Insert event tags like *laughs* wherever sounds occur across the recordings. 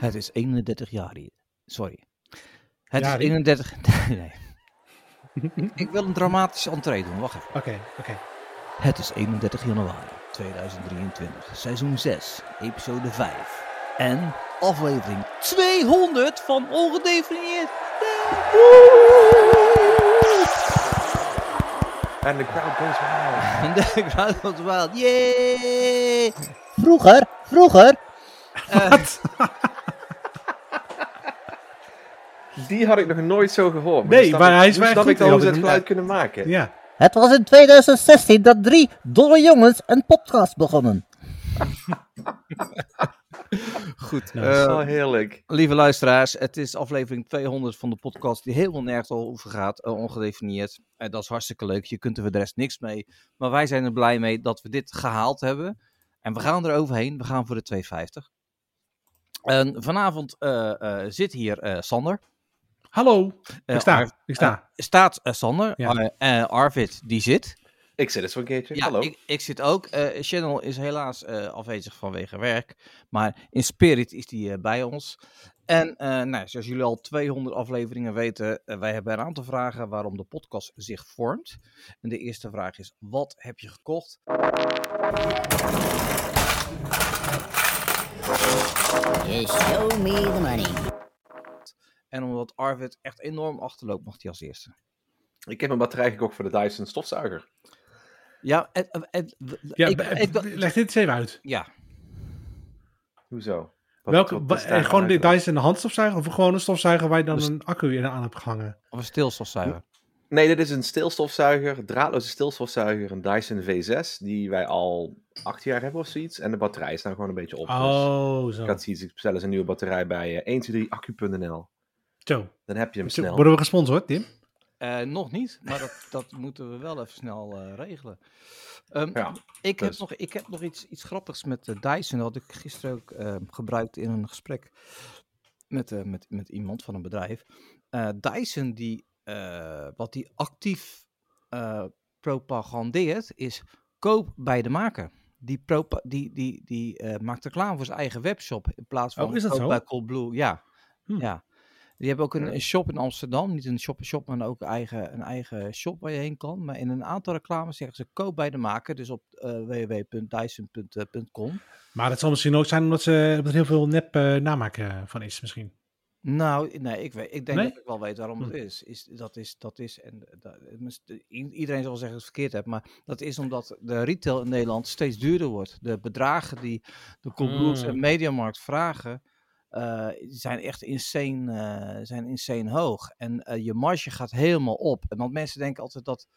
Het is 31 jaar hier. Sorry. Het Jari? is 31... *laughs* Nee. Ik wil een dramatische entree doen, wacht even. Oké, oké. Het is 31 januari 2023, seizoen 6, episode 5. En aflevering 200 van Ongedefinieerd. En de crowd goes wild. En de crowd was wild. Yay! Vroeger, vroeger. eh, Die had ik nog nooit zo gehoord. Nee, nu snap maar ik- hij is nu wel snap goed, ik al die hoe ze had ik het geluid niet- kunnen maken. Ja. Het was in 2016 dat drie dolle jongens een podcast begonnen. *laughs* Goed. Nou, Dat is eh, wel heerlijk. Lieve luisteraars, het is aflevering 200 van de podcast die helemaal nergens over gaat, eh, ongedefinieerd. En dat is hartstikke leuk, je kunt er voor de rest niks mee. Maar wij zijn er blij mee dat we dit gehaald hebben. En we gaan er overheen, we gaan voor de 250. En vanavond eh, eh, zit hier eh, Sander. Hallo, Eh, ik sta. Ar- Ik sta. staat eh, Sander, Ja. Eh, eh, Arvid die zit. Ik zit eens voor een keertje. Ja, Hallo. Ik, ik zit ook. Eh Channel is helaas eh, afwezig vanwege werk. Maar in spirit is die eh, bij ons. En eh, nou, zoals jullie al 200 afleveringen weten, eh, wij hebben een aantal vragen waarom de podcast zich vormt. En de eerste vraag is: wat heb je gekocht? You show me the money. En omdat Arvid echt enorm achterloopt, mag hij als eerste. Ik heb een batterij gekocht voor de Dyson stofzuiger. Ja, en, en- en- Ja, ik- b- ik- b- leg dit eens even uit. ja. Hoezo? Wat- Welke, wat wa- is eh, daar gewoon aan de uitgelegd? Dyson een handstofzuiger of gewoon een stofzuiger waar je dan Dus- een accu in aan hebt gehangen? of een stilstofzuiger. Nee, dit is een stilstofzuiger, draadloze stilstofzuiger, een Dyson V6, die wij al acht jaar hebben of zoiets. En de batterij is nou gewoon een beetje op. dus Oh, zo. ik had zoiets, ik bestel eens een nieuwe batterij bij eh, 123accu.nl. Zo. Dan heb je hem Zo, snel. Worden we gesponsord, Tim? Eh, nog niet, maar dat, *laughs* dat moeten we wel even snel eh, regelen. Ehm, Ja, Ik heb Dus- nog, ik heb nog iets, iets grappigs met de Dyson. Dat had ik gisteren ook eh, gebruikt in een gesprek met, eh, met, met iemand van een bedrijf. Eh, Dyson, die, eh, wat die actief eh, propagandeert, is koop bij de maker. Die, propa- die, die, die eh, maakt reclame voor zijn eigen webshop in plaats van Oh, is dat koop zo? bij Coolblue. Ja, Hm. ja. Die hebben ook een, Ja. een shop in Amsterdam. Niet een shop in shop, maar ook eigen, een eigen shop waar je heen kan. Maar in een aantal reclames zeggen ze koop bij de maker. Dus op eh, www.dyson.com. Maar dat zal misschien ook zijn omdat, ze, omdat er heel veel nep eh, namaak eh, van is misschien. Nou, nee, ik, weet, ik denk Nee? dat ik wel weet waarom het Hm. is. is dat is, dat is en dat, i- iedereen zal zeggen dat ik het verkeerd heb, maar dat is omdat de retail in Nederland steeds duurder wordt. De bedragen die de Coolblues Hmm. en Mediamarkt vragen, eh, zijn echt insane, eh, zijn insane hoog. En eh, je marge gaat helemaal op. En want mensen denken altijd dat,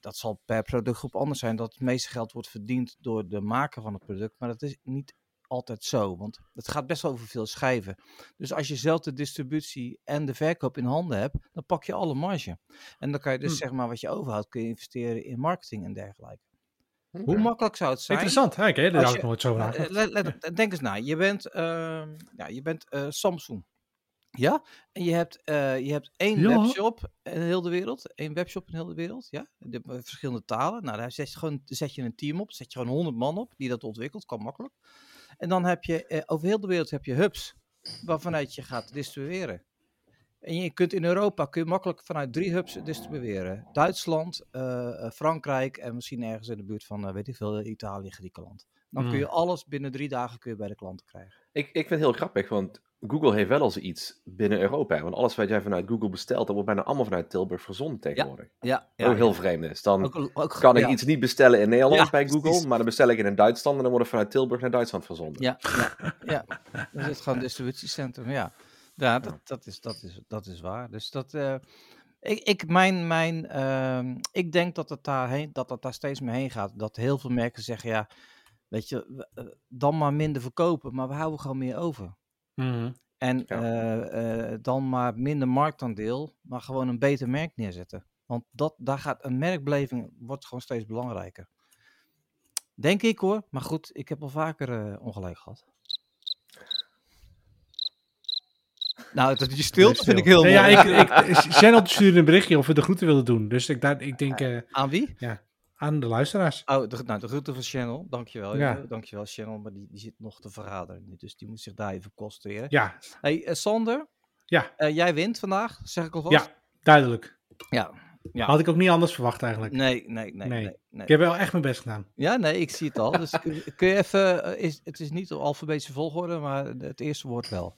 dat zal per productgroep anders zijn, dat het meeste geld wordt verdiend door de maker van het product, maar dat is niet altijd zo, want het gaat best wel over veel schijven. Dus als je zelf de distributie en de verkoop in handen hebt, dan pak je alle marge. En dan kan je dus Hm. zeg maar wat je overhoudt, kun je investeren in marketing en dergelijke. Oké. Hoe makkelijk zou het zijn? Interessant. Ja, Oké, daar Als had je- ik nooit zo Eh, naar. eh, let- let- Denk eens na. Je bent, ehm, ja, je bent eh, Samsung. Ja? En je hebt, eh, je hebt één Ja. webshop in heel de wereld. Eén webshop in heel de wereld. Ja? De, eh, verschillende talen. Nou, daar zet je, gewoon, zet je een team op. Zet je gewoon 100 man op die dat ontwikkelt. Kan makkelijk. En dan heb je eh, over heel de wereld heb je hubs. Waarvanuit je gaat distribueren. En je kunt in Europa kun je makkelijk vanuit drie hubs distribueren. Duitsland, eh, eh, Frankrijk en misschien ergens in de buurt van, eh, weet ik veel, Italië, Griekenland. Dan kun je alles binnen drie dagen kun je bij de klanten krijgen. Ik, ik vind het heel grappig, want Google heeft wel al zoiets binnen Europa. hè. Want alles wat jij vanuit Google bestelt, dat wordt bijna allemaal vanuit Tilburg verzonden tegenwoordig. Ja, Ook heel vreemd is. Dan ook, ook- kan ik ja. iets niet bestellen in Nederland Ja, bij Google, precies. maar dan bestel ik het in Duitsland en dan wordt het vanuit Tilburg naar Duitsland verzonden. Ja, ja, ja. Er zit gewoon een distributiecentrum, ja. Ja, dat, dat, is, dat, is, dat is waar. Dus dat, eh, ik, ik, mijn, mijn, ehm, ik denk dat het, daarheen, dat het daar steeds meer heen gaat. Dat heel veel merken zeggen, ja, weet je, we- eh, dan maar minder verkopen, maar we houden gewoon meer over. Mhm. En Ja. eh, eh, dan maar minder marktaandeel, maar gewoon een beter merk neerzetten. Want dat, daar gaat een merkbeleving wordt gewoon steeds belangrijker. Denk ik hoor, maar goed, ik heb al vaker eh, ongelijk gehad. Nou, dat je stilte vind ik heel Nee, mooi. ja, ik, ik, Channel stuurde een berichtje of we de groeten wilden doen. Dus ik, daar, ik denk, eh, Aan wie? Ja. aan de luisteraars. Oh, de, nou, de groeten van Channel. Dankjewel. Ja. Ja. Dankjewel, Channel. Maar die, die zit nog te verraderen. nu, Dus die moet zich daar even concentreren. Ja, Hey, eh, Sander. Ja. Eh, jij wint vandaag, zeg ik alvast. ja duidelijk. Ja. Ja. Had ik ook niet anders verwacht eigenlijk. Nee, nee, nee, Nee. nee. nee. Ik heb wel echt mijn best gedaan. Ja, nee, ik zie het al. Dus kun kun je even, eh, is, het is niet op alfabetische volgorde, maar het eerste woord wel.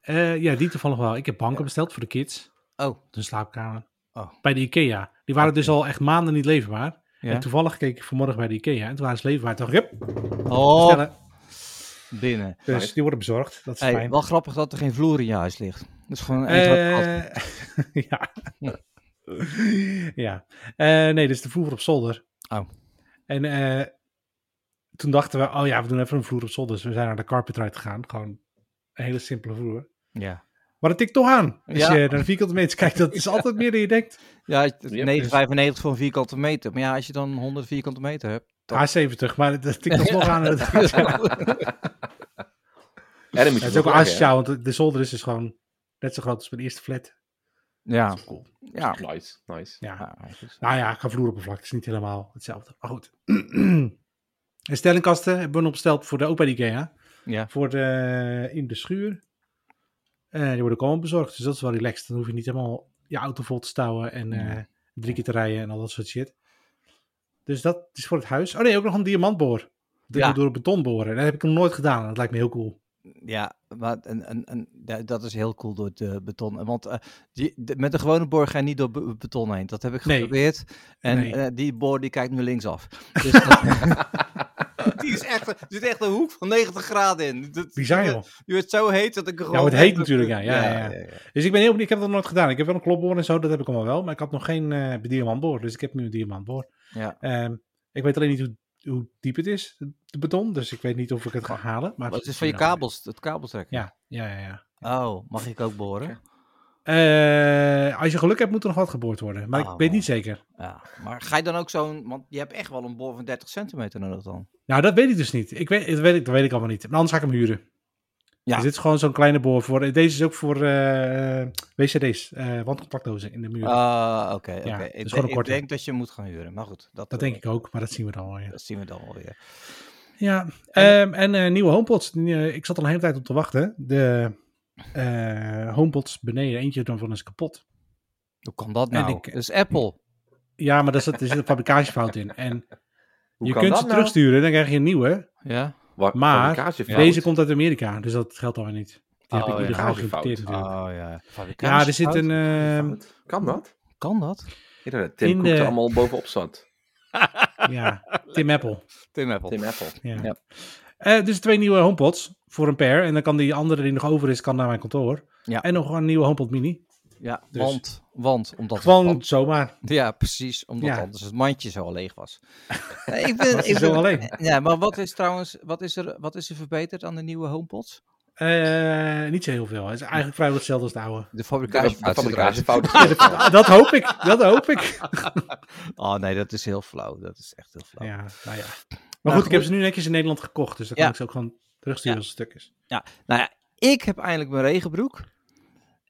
Eh, ja, die toevallig wel. Ik heb banken besteld voor de kids. Oh, De slaapkamer. Oh. Bij de Ikea. Die waren Oké. dus al echt maanden niet leverbaar. Ja. En toevallig keek ik vanmorgen bij de Ikea. En toen waren ze leverbaar. Toen dacht ik, hup, oh bestellen. binnen. Dus Nice. die worden bezorgd. Dat is Hey, fijn. wel grappig dat er geen vloer in je huis ligt. Dat is gewoon echt wat- Eh, *laughs* ja. ja. Eh, nee, dus de vloer op zolder. Oh. En eh, toen dachten we, oh ja, we doen even een vloer op zolder. Dus we zijn naar de carpetride gegaan. Gewoon een hele simpele vloer. Ja, Maar dat tikt toch aan. Als Ja. je naar de vierkante meters kijkt, dat is altijd meer dan je denkt. ja het- Yep. 9,95 voor een vierkante meter. Maar ja, als je dan 100 vierkante meter hebt. *laughs* Dat- H70, maar dat tikt alsnog aan. En dat- En dan moet je het is ook wel verplaatsen, hè? asociaal, want de zolder is dus gewoon net zo groot als mijn eerste flat. Ja, Cool. ja. Nice, nice. Ja. Ja, goed. Nou ja, qua vloeroppervlak, het is niet helemaal hetzelfde. Maar goed. *clears throat* en stellingkasten hebben we nog besteld voor de, ook bij de Ikea. Ja. Voor de, in de schuur. Eh, die worden ook allemaal bezorgd, dus dat is wel relaxed. Dan hoef je niet helemaal je auto vol te stouwen en eh, drie keer te rijden en al dat soort shit. Dus dat is voor het huis. Oh nee, ook nog een diamantboor. Dat Ja. moet door beton boren. Dat heb ik nog nooit gedaan. en Dat lijkt me heel cool. Ja, maar en, en, en, da- dat is heel cool door het eh, beton. Want eh, die, de- met een gewone boor ga je niet door be- beton heen. Dat heb ik Nee. geprobeerd. En Nee. eh, die boor die kijkt nu *laughs* linksaf. Dus dat- *laughs* die is echt, er zit echt een hoek van 90 graden in. Dat, Bizar joh. Je wordt zo heet dat ik er gewoon... het heet natuurlijk, ja. Ja, ja, ja. ja. Dus ik ben heel benieuwd. Ik heb dat nog nooit gedaan. Ik heb wel een klopboor en zo, dat heb ik allemaal wel. Maar ik had nog geen eh diamantboor, dus ik heb nu een diamantboor. Ja. Ehm, ik weet alleen niet hoe, hoe diep het is, de beton. Dus ik weet niet of ik het ga halen. Maar Maar het is van je kabels, het kabeltrekken. Ja, ja, ja. ja. Oh, mag ik ook boren? Eh, als je geluk hebt, moet er nog wat geboord worden. Maar Oh. ik weet niet zeker. Ja. Maar ga je dan ook zo'n... Want je hebt echt wel een boor van 30 centimeter nodig dan. Nou, dat weet ik dus niet. Ik weet, dat, weet ik, dat weet ik allemaal niet. Maar anders ga ik hem huren. Ja. Dus dit is gewoon zo'n kleine boor voor. Deze is ook voor eh, WCD's, eh wandcontactdozen in de muur. Ah, oké. oké. het is Ik, gewoon de- een ik korte. denk dat je hem moet gaan huren. Maar goed, dat, dat eh, denk ik ook, maar dat zien we dan wel. Ja. Dat zien we dan alweer. Ja, ehm, en eh, nieuwe HomePods. Die, eh, ik zat al een hele tijd op te wachten. De eh, HomePods beneden, eentje daarvan is kapot. Hoe kan dat En nou? ik- eh, dat is Apple. Ja, maar daar zit, er zit een fabrikagefout in. En Hoe je kan kunt dat ze nou? terugsturen, dan krijg je een nieuwe. Ja? Wa- maar fabrikagefout. Deze komt uit Amerika, dus dat geldt alweer niet. Die heb Oh, ik ja. illegaal Fabrikagefout. geïmporteerd natuurlijk. Oh ja. ja, er zit een... ehm, Fout. Kan dat? Kan dat? Ik dacht dat Tim In eh, Cook de- er allemaal bovenop zat. *laughs* ja, Tim Apple. Tim Apple. Tim *laughs* Apple. Ja. Ja. Eh, dus twee nieuwe HomePods voor een pair. En dan kan die andere die nog over is, kan naar mijn kantoor. Ja. En nog een nieuwe HomePod mini. Ja, Dus- want, want, omdat het Gewoon pand- zomaar. Ja, precies, omdat Ja. anders het mandje zo al leeg *laughs* was. Nee, ik ben, Dat is zo alleen. Ja, maar wat is trouwens, wat is er, wat is er verbeterd aan de nieuwe HomePods? Eh, niet zo heel veel. Het is eigenlijk vrijwel hetzelfde als de oude. De De fabrikage. fabrikagefout. dat hoop ik. Dat hoop *laughs* ik. Oh nee, dat is heel flauw. Dat is echt heel flauw. Ja, nou ja. Maar goed, goed. ik heb ze nu netjes in Nederland gekocht. Dus dan Ja. kan ik ze ook gewoon terugsturen als het stuk is. Nou ja, ik heb eindelijk mijn regenbroek.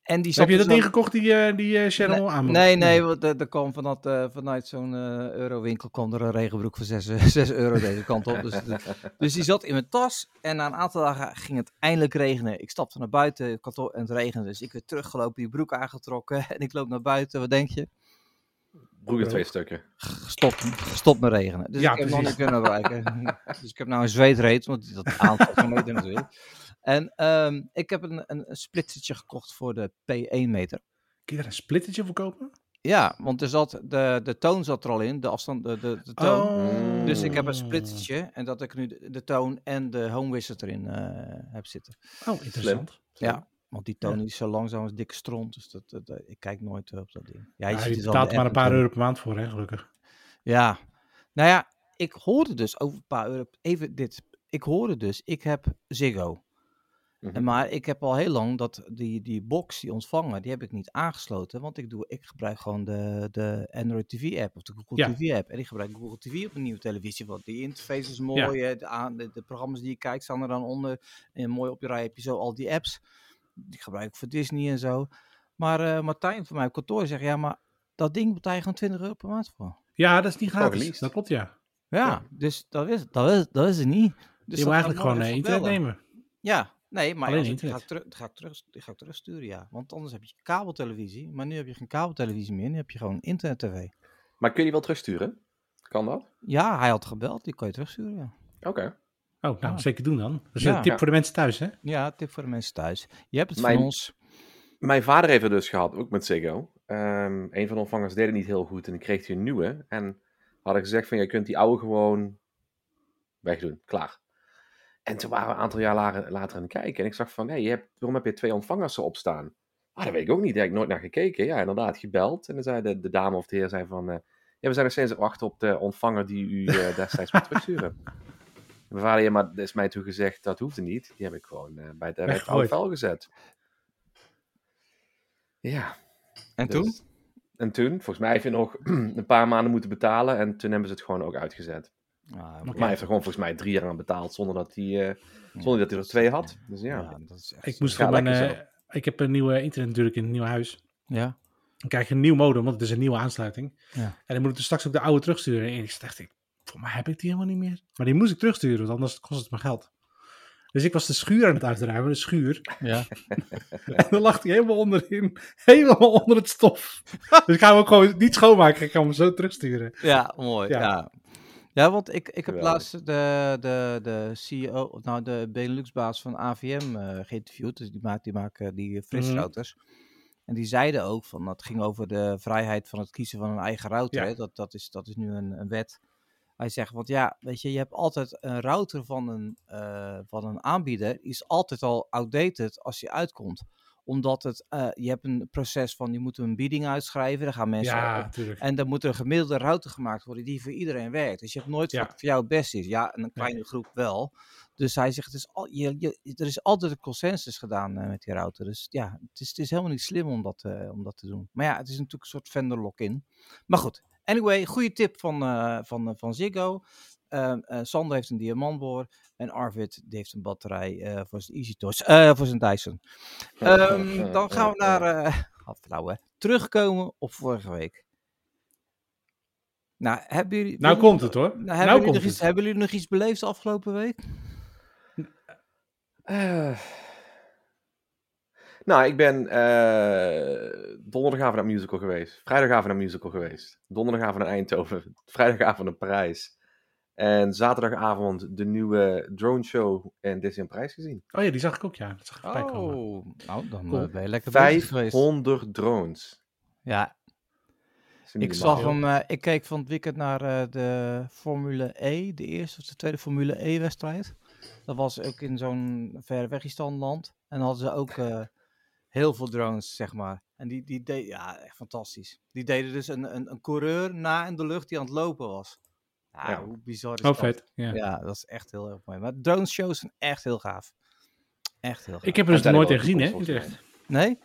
En die zat Heb je er dat zo- ding gekocht die, eh die eh, Cheryl aan Nee, nee, want eh, er kwam vanuit, eh, vanuit zo'n eh, eurowinkel kwam er een regenbroek voor *laughs* 6, 6 euro deze kant op. Dus, de- dus die zat in mijn tas en na een aantal dagen ging het eindelijk regenen. Ik stapte naar buiten, het kantoor en het regende. Dus ik weer teruggelopen, die broek aangetrokken *laughs* en ik loop naar buiten. Wat denk je? Broek in twee stukken. Gestopt, gestopt met regenen. Dus Ja, ik heb nog niet precies. kunnen bereiken. *laughs* dus ik heb nou een zweetreet, want dat aantal van meter natuurlijk. En ehm, ik heb een, een, een splitsertje gekocht voor de P1 meter. Kun je daar een splittertje voor kopen? Ja, want er zat de, de toon zat er al in, de afstand, de, de, de toon. Oh. Dus ik heb een splittertje en dat ik nu de, de toon en de home wizard erin eh, heb zitten. Oh, interessant. Ja, want die toon is zo langzaam als dikke stront, dus dat, dat- dat- ik kijk nooit eh, op dat ding. Ja, Ja, ziet je het wel betaalt aan maar de een paar app euro per maand voor, hè, gelukkig. natuurlijk. Ja, nou ja, ik hoorde dus over een paar euro, even dit. Ik hoorde dus, ik heb Ziggo. Mhm. En Maar ik heb al heel lang dat die, die box die ontvangen, die heb ik niet aangesloten. Want ik, doe, ik gebruik gewoon de, de Android TV app of de Google Ja. TV app. En ik gebruik Google TV op een nieuwe televisie. Want die interface is mooi. eh, De, aan- de, de programma's die je kijkt staan er dan onder. En mooi op je rij heb je zo al die apps. Die gebruik ik voor Disney en zo. Maar eh, Martijn van mij op kantoor zegt, ja maar dat ding betaal je gewoon 20 euro per maand voor. Ja, dat is niet Voor gratis. released. Dat klopt, ja. Ja, Ja. dus dat is, dat is, dat is het niet. Dus dat je moet eigenlijk zou ik gewoon nog even eh, internet bellen. nemen. Ja, nee, maar Alleen als ik, die ga, internet. ik terug, die ga, ik terug, die ga ik terugsturen, ja. Want anders heb je kabeltelevisie, maar nu heb je geen kabeltelevisie meer, nu heb je gewoon internet-tv. Maar kun je die wel terugsturen? Kan dat? Ja, hij had gebeld, die kan je terugsturen, ja. Oké. Oh, nou, Ah. zeker doen dan. Dat is Ja. een tip Ja. voor de mensen thuis, hè? Ja, tip voor de mensen thuis. Je hebt het Mijn- van ons. Mijn vader heeft het dus gehad, ook met Ziggo. Ehm een van de ontvangers deed het niet heel goed en dan kreeg hij een nieuwe. En had ik gezegd van, je kunt die oude gewoon wegdoen, klaar. En toen waren we een aantal jaar later, later aan het kijken. En ik zag van, hé, je hebt, waarom heb je twee ontvangers erop staan? Ah, dat weet ik ook niet, daar heb ik nooit naar gekeken. Ja, inderdaad, gebeld. En dan zei de, de dame of de heer zei van, eh, ja, we zijn nog steeds aan het wachten op de ontvanger die u eh, destijds moet terugsturen. En Mijn vader, ja, maar er is mij toen gezegd, dat hoefde niet. Die heb ik gewoon eh, bij, het- bij het oude Weggegooid. vuil gezet. Ja. En Dus- toen? En toen, volgens mij heeft hij nog *clears throat* een paar maanden moeten betalen. En toen hebben ze het gewoon ook uitgezet. Ah, Maar hij heeft er gewoon volgens mij drie jaar aan betaald zonder dat hij, eh, zonder dat hij er twee had. Dus ja. Ja, dat is echt Ik, zo. moest Ja, voor mijn, lekker eh, ik heb een nieuwe internet natuurlijk in een nieuw huis. Ja, Dan krijg je een nieuw modem, want het is een nieuwe aansluiting. Ja. En dan moet ik dus straks ook de oude terugsturen. En ik dacht, ik, voor mij heb ik die helemaal niet meer. Maar die moest ik terugsturen, want anders kost het me geld. Dus ik was de schuur aan het uitruimen, de schuur. ja. *laughs* En dan lag hij helemaal onderin. Helemaal onder het stof. Dus ik ga hem ook gewoon niet schoonmaken. Ik ga hem zo terugsturen. ja mooi. Ja. Ja. Ja. want ik, ik heb Geweldig. laatst de, de, de CEO, of nou de Benelux-baas van AVM eh, geïnterviewd. Dus die maakt die, maken die frisrouters. En die zeiden ook van, dat ging over de vrijheid van het kiezen van een eigen router. Ja. Hè? Dat, dat, is, dat is nu een, een wet. Hij zegt, want ja, weet je, je hebt altijd een router van een, eh, van een aanbieder, is altijd al outdated als die uitkomt. Omdat het, eh, je hebt een proces van, je moet een bieding uitschrijven, dan gaan mensen Ja, natuurlijk. en dan moet er een gemiddelde router gemaakt worden die voor iedereen werkt. Dus je hebt nooit Ja. wat voor jou het beste is. Ja, en een kleine groep wel. Dus hij zegt, het is al, je, je- er is altijd een consensus gedaan eh, met die router. Dus ja, het is, het is helemaal niet slim om dat, eh, om dat te doen. Maar ja, het is natuurlijk een soort vendor lock-in. Maar goed, anyway, goede tip van, eh, van, eh, van Ziggo. Ehm, eh, Sander heeft een diamantboor. En Arvid die heeft een batterij eh, voor zijn EasyToys, eh, voor zijn Dyson. Ehm, dan gaan we naar... eh, *laughs* gadverdamme, hè. terugkomen op vorige week. Nou, hebben jullie... Nou willen- komt het hoor. Nou, Nou, hebben, jullie komt nog het. iets, hebben jullie nog iets beleefd de afgelopen week? Eh. nou, ik ben eh, donderdagavond naar een musical geweest. Vrijdagavond naar een musical geweest. Donderdagavond naar Eindhoven. *laughs* Vrijdagavond naar Parijs. En zaterdagavond de nieuwe drone show in Disney in Parijs gezien. Oh ja, die zag ik ook ja. Dat zag ik Oh. erbij komen. nou, dan Cool. eh, ben je lekker bezig geweest. 500 drones. Ja, Dat is niet ik normaal. zag hem... eh, ik keek van het weekend naar eh, de Formule E, de eerste of de tweede Formule E-wedstrijd. Dat was ook in zo'n verrewegistan land. En dan hadden ze ook eh, heel veel drones, zeg maar. En die, die deed, ja, echt fantastisch. Die deden dus een, een, een coureur na in de lucht die aan het lopen was. Ja, Ja. hoe bizar is Oh dat? vet. Ja. Ja, dat is echt heel erg mooi. Maar droneshows zijn echt heel gaaf. Echt heel gaaf. Ik heb er dus Uiteindelijk nooit wel in gezien hè. toekomst, Utrecht. volgens Nee?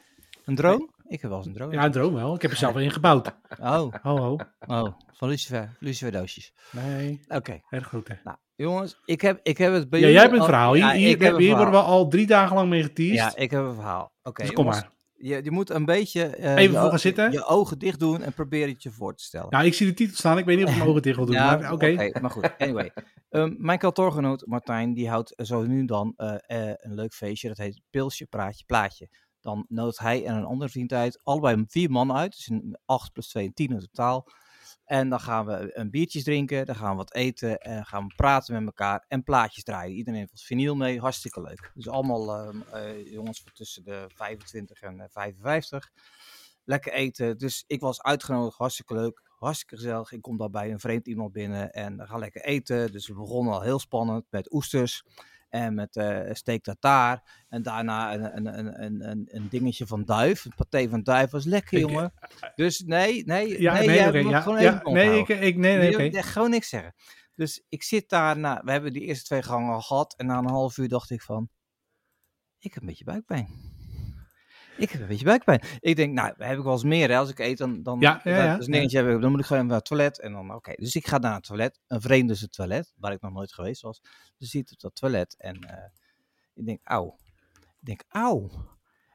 Een drone? Ik heb wel eens een drone. Ja, een droom wel. Ik heb er zelf in gebouwd. Oh, Ho, ho. oh, van lucifer, lucifer doosjes. Nee, Oké, erg goed hè. nou, jongens, ik heb, ik heb het bij Ja, jullie jij hebt een al- verhaal. Ja, Hier, hier, ik heb een hier worden we verhaal. al drie dagen lang mee geteased. Ja, ik heb een verhaal. Oké, dus kom jongens, maar. Je, je moet een beetje eh, Even je voor o- gaan zitten. je ogen dicht doen en probeer het je voor te stellen. Nou, ik zie de titel staan. Ik weet niet of ik mijn ogen dicht wil doen. Ja, maar oké. maar goed, *laughs* anyway. Ehm, mijn kantoorgenoot Martijn, die houdt zo nu en dan eh, eh, een leuk feestje. Dat heet Pilsje, Praatje, Plaatje. Dan noodt hij en een andere vriend uit, allebei vier man uit. Dus een 8 plus 2 en 10 in totaal. En dan gaan we een biertjes drinken, dan gaan we wat eten en gaan we praten met elkaar en plaatjes draaien. Iedereen heeft wat vinyl mee, hartstikke leuk. Dus allemaal ehm, eh, jongens van tussen de 25 en eh, 55. Lekker eten. Dus ik was uitgenodigd, hartstikke leuk, hartstikke gezellig. Ik kom daar bij een vreemd iemand binnen en we gaan lekker eten. Dus we begonnen al heel spannend met oesters en met eh steak tartaar. En daarna een, een, een, een, een, een dingetje van duif, een paté van duif, was lekker Ik- eh, jongen. Dus nee, nee, Ja, nee, nee, jij oké, moet ja, gewoon ja, even mond nee, houden. ik, ik, nee, nee, Nee, oké. gewoon niks zeggen. Dus ik zit daar, nou, we hebben die eerste twee gangen al gehad. En na een half uur dacht ik van, ik heb een beetje buikpijn. Ik heb een beetje buikpijn. Ik denk, nou, heb ik wel eens meer. Hè? Als ik eet, dan, dan Ja, ja, dat ja. is een dingetje hebben. Dan moet ik gewoon even naar het toilet. En dan, oké. Dus ik ga naar het toilet. Een vreemde is het toilet, waar ik nog nooit geweest was. Dus ik zit op dat toilet en eh, ik denk, auw. Ik denk, auw.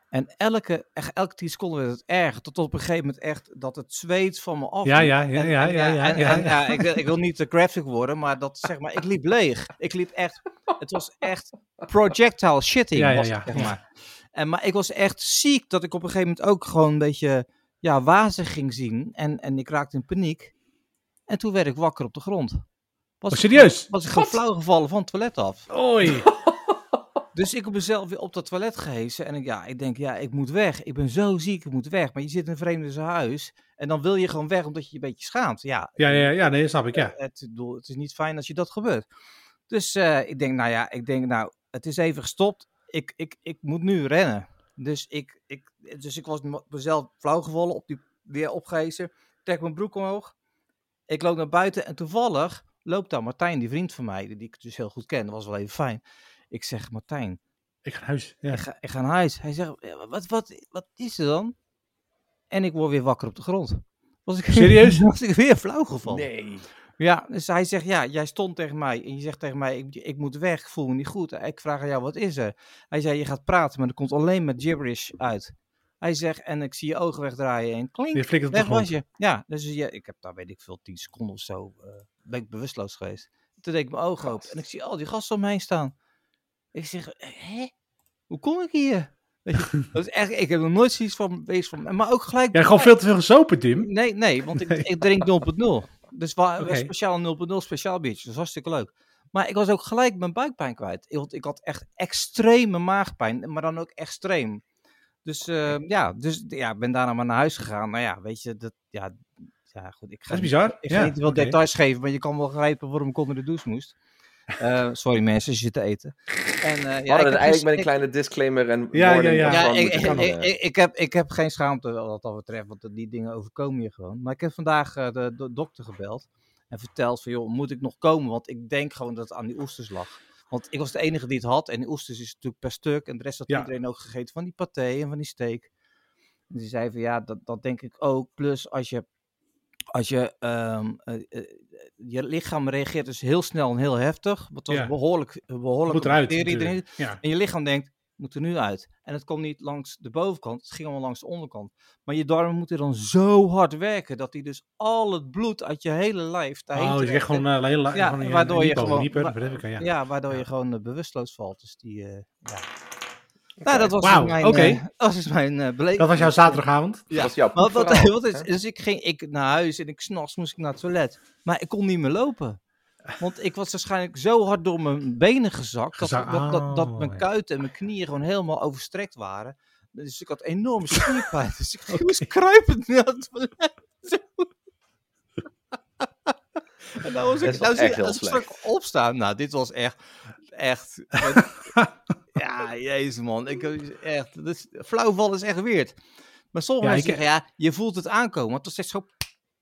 En elke, echt, elke 10 seconden werd het erger. Tot op een gegeven moment echt dat het zweet van me af. Ja, liep. ja, ja, En- ja, en- ja, ja, en- ja, en- ja. ja, Ik wil- ik wil niet te graphic worden, maar dat zeg maar, ik *laughs* liep leeg. Ik liep echt, het was echt projectile shitting. Ja, ja, was ja. het, zeg maar. En, maar ik was echt ziek dat ik op een gegeven moment ook gewoon een beetje ja, wazig ging zien. En, en ik raakte in paniek. En toen werd ik wakker op de grond. Was ik- Oh, serieus? Was ik gewoon flauw gevallen van het toilet af. Oei. Dus ik heb mezelf weer op dat toilet gehezen. En ik, ja, ik denk, ja, ik moet weg. Ik ben zo ziek, ik moet weg. Maar je zit in een vreemde huis. En dan wil je gewoon weg omdat je je een beetje schaamt. Ja, eh, Ja, ja, ja, nee, snap ik, ja. het, ik bedoel, het is niet fijn als je dat gebeurt. Dus eh, ik denk, nou ja, ik denk, nou, het is even gestopt. Ik, ik, ik moet nu rennen. Dus ik, ik, dus ik was m- mezelf flauwgevallen, op die, weer opgehezen. Trek mijn broek omhoog. Ik loop naar buiten en toevallig loopt daar Martijn, die vriend van mij, die ik dus heel goed ken. Dat was wel even fijn. Ik zeg, Martijn, Ik ga naar huis. Ja. ik ga, ik ga naar huis. Hij zegt, "Ja, wat, wat, wat is er dan? En ik word weer wakker op de grond. Was ik, Serieus? *laughs* was ik weer flauw gevallen. Nee. Ja, dus hij zegt, ja, jij stond tegen mij. En je zegt tegen mij, ik, ik moet weg, ik voel me niet goed. Ik vraag aan jou, wat is er? Hij zei, je gaat praten, maar er komt alleen maar gibberish uit. Hij zegt, en ik zie je ogen wegdraaien en klink, Je flikkert op de weg was grond. je. Ja, dus ja, ik heb daar, weet ik veel, tien seconden of zo, eh, ben ik bewusteloos geweest. Toen deed ik mijn ogen open en ik zie al die gasten om me heen staan. Ik zeg, hè? Hoe kom ik hier? Weet *laughs* je, dat is echt, ik heb nog nooit zoiets van, wees van, maar ook gelijk Ja, gewoon veel te veel gezopen, Tim. Nee, nee, want ik, Nee. ik drink 0.0. Dus wa- Oké. speciaal 0.0 speciaal biertje. Dat is hartstikke leuk. Maar ik was ook gelijk mijn buikpijn kwijt. Want ik had echt extreme maagpijn, maar dan ook extreem. Dus eh, ja, dus ja, ik ben daarna maar naar huis gegaan. Nou ja, weet je, dat, ja, ja goed. Ik ga, Dat niet- is bizar. ik ga Ja, niet te veel oké. details geven, maar je kan wel begrijpen waarom ik onder de douche *laughs* moest. Eh, sorry mensen, als je zit te eten. En, eh, ja, Ja, ik heb eigenlijk gis- met een ik- kleine disclaimer en Ja, warning ja, ja, ja. daarvan ik, moeten gaan, ik, eh, ik, ik heb, ik heb geen schaamte wat dat betreft, want die dingen overkomen je gewoon. Maar ik heb vandaag eh, de, de dokter gebeld en verteld van, joh, moet ik nog komen? Want ik denk gewoon dat het aan die oesters lag. Want ik was de enige die het had en die oesters is natuurlijk per stuk en de rest had Ja. iedereen ook gegeten van die paté en van die steak. En die zei van, ja, dat, dat denk ik ook. Plus als je, als je, ehm, eh, eh, je lichaam reageert dus heel snel en heel heftig. Want dat is Ja. behoorlijk, behoorlijk Moet eruit. natuurlijk. Ja. en je lichaam denkt, moet er nu uit. En het komt niet langs de bovenkant, het ging allemaal langs de onderkant. Maar je darmen moeten dan zo hard werken dat die dus al het bloed uit je hele lijf daarheen Oh, je krijgt trekken. gewoon eh heel Ja, waardoor je gewoon- wa- Even, ja. ja. waardoor je Ja. gewoon eh, bewusteloos valt. Dus die, eh, ja. Oké. Nou, dat was Wauw, dus mijn, oké. eh, *laughs* dat was dus mijn eh, beleving. Dat was jouw zaterdagavond. ja. Dat is jouw Maar wat, proefverhaal, wat is, hè? dus ik ging ik naar huis en ik s'nachts moest ik naar het toilet. Maar ik kon niet meer lopen. Want ik was waarschijnlijk zo hard door mijn benen gezakt. Dat, Gezakt, dat, dat, dat oh, mijn ja. kuiten en mijn knieën gewoon helemaal overstrekt waren. Dus ik had *laughs* enorme spierpijn. Dus ik moest kruipend naar het toilet. *laughs* Zo. en nou was Dat is ik, wel nou zie, je- echt heel als ik straks opstaan. Nou, dit was echt, echt. ja, jezus man. Ik, echt, dus, flauwval is echt weird. Maar sommige Ja, mensen ik- zeggen, ja, je voelt het aankomen. Want dan zegt zo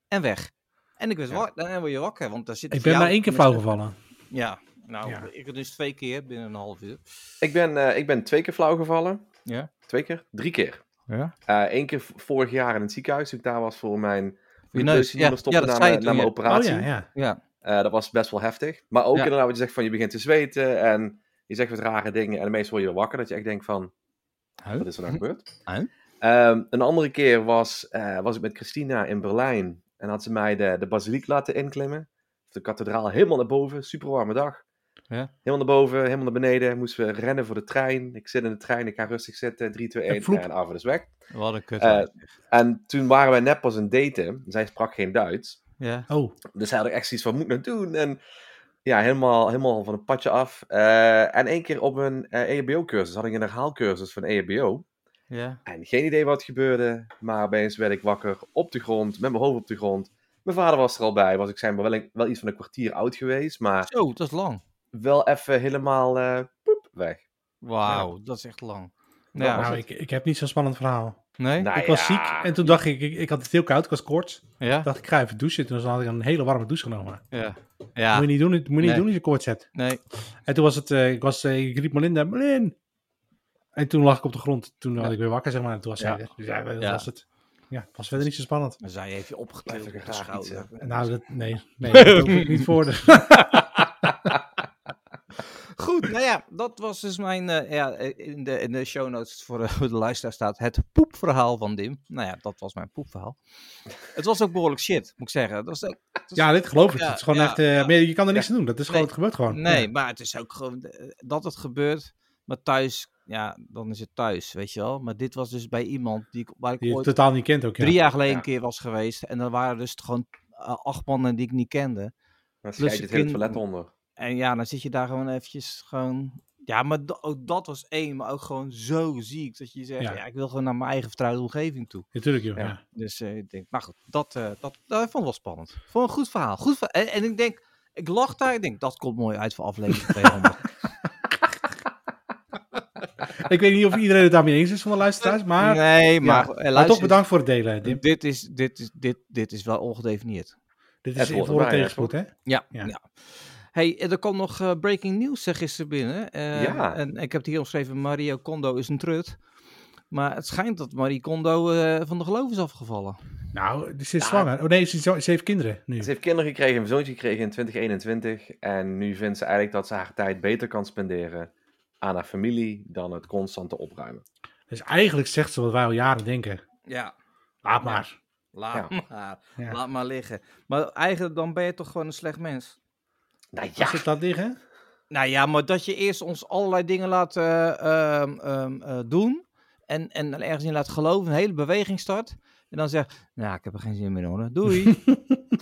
en weg. En ik werd wakker, dan word je wakker, want daar zit Ik voor ben jou maar één keer flauw tenminste- gevallen. Ja, nou, Ja. ik dus twee keer binnen een half uur. Ik ben, eh, ik ben twee keer flauw gevallen. Ja. Twee keer? Drie keer. Ja? Eén keer v- vorig jaar in het ziekenhuis, toen ik daar was voor mijn je neus, die me ja. stopte Ja, dat na, zei je mijn- na toen, mijn ja. Oh operatie. ja, ja. Ja, Eh, dat was best wel heftig. Maar ook Ja. inderdaad wat je zegt van je begint te zweten en je zegt wat rare dingen en meestal word je weer wakker. Dat je echt denkt van, Huh? wat is er nou gebeurd? Huh? Ehm, een andere keer was, eh, was ik met Christina in Berlijn en had ze mij de, de basiliek laten inklimmen. De kathedraal helemaal naar boven, super warme dag. Ja. Helemaal naar boven, helemaal naar beneden. Moesten we rennen voor de trein. Ik zit in de trein, ik ga rustig zitten. 3, 2, 1 vloep. en Arvid is weg. wat een kut. Eh, En toen waren wij net pas een daten. Zij sprak geen Duits. ja. Oh, Dus hij had ook echt zoiets van, moet ik nou doen? En ja, helemaal, helemaal van het padje af. Eh, en één keer op eh, een EHBO-cursus had ik een herhaalcursus van E EHBO. Ja. En geen idee wat gebeurde, maar opeens werd ik wakker op de grond, met mijn hoofd op de grond. Mijn vader was er al bij, was ik zijn wel, wel iets van een kwartier oud geweest, maar Zo, dat is lang. wel even helemaal eh, poep, weg. Wauw, dat is echt lang. Dat Ja. was nou, het. ik, ik heb niet zo'n spannend verhaal. Nee? Nou ik was ja. ziek en toen dacht ik, ik, ik had het heel koud, ik was koorts. Ja? dacht ik, ga even douchen. Toen had ik een hele warme douche genomen. Ja. Moet Ja. je niet doen, moet je niet Nee. doen als je koorts hebt. Nee. En toen was het, eh, ik, was, eh, ik riep Melinda, Melin! En toen lag ik op de grond. Toen had ik weer wakker, zeg maar. En toen was Ja. zij er. Dus ja, dat Ja. was het. Ja, het was verder niet zo spannend. Maar zij heeft je opgetild op Blijf de ik graag iets, schouder. *laughs* Nou, dat, nee, nee, daar hoef ik niet voor. Goed, nou ja, dat was dus mijn. eh, ja, eh, in, de, in de show notes voor eh, de luisteraar staat het poepverhaal van Dim. Nou ja, dat was mijn poepverhaal. Het was ook behoorlijk shit, moet ik zeggen. Dat was ook, het was- Ja, dit geloof ik. Ja, het is gewoon ja, echt, eh, ja. meer- je kan er niks aan doen. Dat is gewoon, Nee. het gebeurt gewoon. Nee, Oh, Ja. maar het is ook gewoon eh, dat het gebeurt. Maar thuis, ja, dan is het thuis, weet je wel. Maar dit was dus bij iemand die ik, waar ik Die je ooit totaal niet kent ook. Ja. drie jaar geleden Ja. een keer was geweest. En dan waren dus gewoon eh, acht mannen die ik niet kende. Dan Plus schijt je het het hele kind- toilet onder. En ja, dan zit je daar gewoon eventjes gewoon... Ja, maar da- ook dat was één, maar ook gewoon zo ziek dat je zegt, ja, Ja. ik wil gewoon naar mijn eigen vertrouwde omgeving toe. Natuurlijk, joh. Ja. Ja. Dus eh, ik denk, nou goed, dat, eh, dat, dat vond ik wel spannend. Vond een goed verhaal. Goed verha- en, en ik denk, ik lag daar, ik denk, dat komt mooi uit voor *laughs* aflevering 200. Ik weet niet of iedereen het daarmee eens is van de luisteraars, maar, maar *laughs* nee, maar, ja, eh, toch luister, bedankt voor het delen. Dim. Dit is, dit, is, dit, dit is wel ongedefinieerd. Dit Het is hoort voor het erbij, tegenspoed, hè? Ja. ja. Ja. Hey, eh, er kwam nog eh, breaking news eh, gisteren binnen. Eh, Ja. En ik heb het hier omschreven, Mario Kondo is een trut. Maar het schijnt dat Marie Kondo eh, van de geloof is afgevallen. Nou, ze is Ja. zwanger. Oh nee, ze, is- ze heeft kinderen nu. Ze heeft kinderen gekregen, een zoontje gekregen in 2021. En nu vindt ze eigenlijk dat ze haar tijd beter kan spenderen aan haar familie dan het constante opruimen. Dus eigenlijk zegt ze wat wij al jaren denken. Ja, Laat maar. laat Ja. maar. Ja. Laat maar liggen. Maar eigenlijk, dan ben je toch gewoon een slecht mens. Nou ja, Als het laat liggen. Nou ja, maar dat je eerst ons allerlei dingen laat eh, ehm, ehm, eh, doen. En, en dan ergens in laat geloven, een hele beweging start. En dan zegt, nou, ik heb er geen zin meer in hoor. Doei.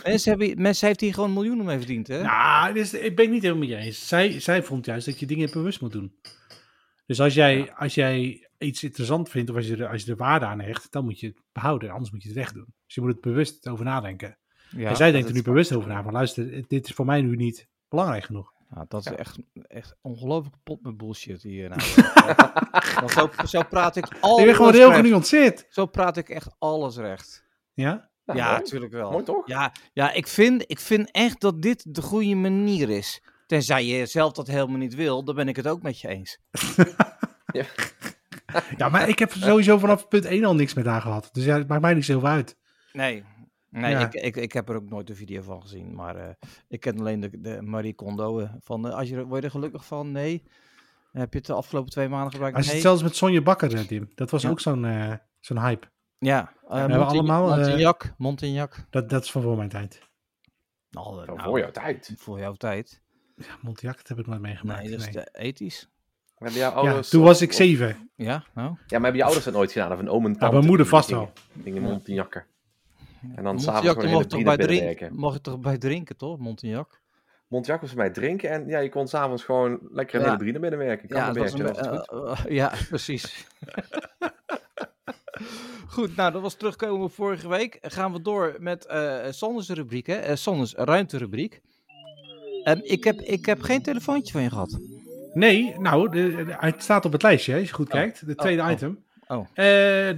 mensen, hebben, mensen heeft hier gewoon miljoenen mee verdiend, hè? Nou, dus, ik ben het niet helemaal met je eens. Zij, zij vond juist dat je dingen bewust moet doen. Dus als jij, als jij iets interessant vindt of als je, er, als je er waarde aan hecht, dan moet je het behouden. Anders moet je het weg doen. Dus je moet het bewust over nadenken. ja. en zij dat denkt er is- nu bewust over na. Van luister, dit is voor mij nu niet belangrijk genoeg. Nou, dat is Ja. echt, echt ongelooflijk pot met bullshit hier. *laughs* Nou, Echt. Want zo, zo praat ik Oh, alles ik ben gewoon heel recht. genuanceerd. Zo praat ik echt alles recht. Ja? nou, ja, mooi. natuurlijk wel. Mooi toch? Ja, ja ik, vind, ik vind echt dat dit de goede manier is. Tenzij je zelf dat helemaal niet wil, dan ben ik het ook met je eens. ja, maar ik heb sowieso vanaf punt 1 al niks met haar gehad. Dus ja, het maakt mij niet zoveel uit. Nee, nee Ja. ik, ik, ik heb er ook nooit een video van gezien. Maar eh, ik ken alleen de, de Marie Kondo. eh, van, eh, als je, er- word je er gelukkig van? Nee. Heb je het de afgelopen twee maanden gebruikt? Als je Nee. het zelfs met Sonja Bakker, eh, Tim. Dat was Ja. ook zo'n eh, zo'n hype. Ja, eh, hebben Montignac- allemaal, eh, Montignac, Montignac. Dat, dat is van voor mijn tijd. Nou, eh, Zo nou, voor jouw tijd. Voor jouw tijd. Ja, Montiac, dat heb ik nooit meegemaakt. Nee, dat is nee. de oh, ethisch. Maar Hebben jouw Ja, ouders, toen was ik of- zeven. Ja, nou. Ja, maar hebben je ouders dat nooit gedaan? Of een oom en tante? Ja, mijn moeder die vast gingen- wel. Gingen Montignac. En dan s'avonds Montignac, gewoon dan in mocht de je toch bij brine binnenwerken. drinken, mocht je toch bij drinken, toch? Montignac. Montignac was bij het drinken en ja, je kon s'avonds gewoon lekker in Ja. de brine binnenwerken. Ja, dat was een, Kranenberg, dat was eh, eh, ja, *laughs* precies. Goed, nou, dat was terugkomen op vorige week. Gaan we door met eh Sanders rubriek, hè? Eh, Sanders ruimterubriek. Ehm, ik, heb, ik heb geen telefoontje van je gehad. Nee, nou, de- de- het staat op het lijstje, als je goed Oh. kijkt. De tweede oh. item. Oh. Eh,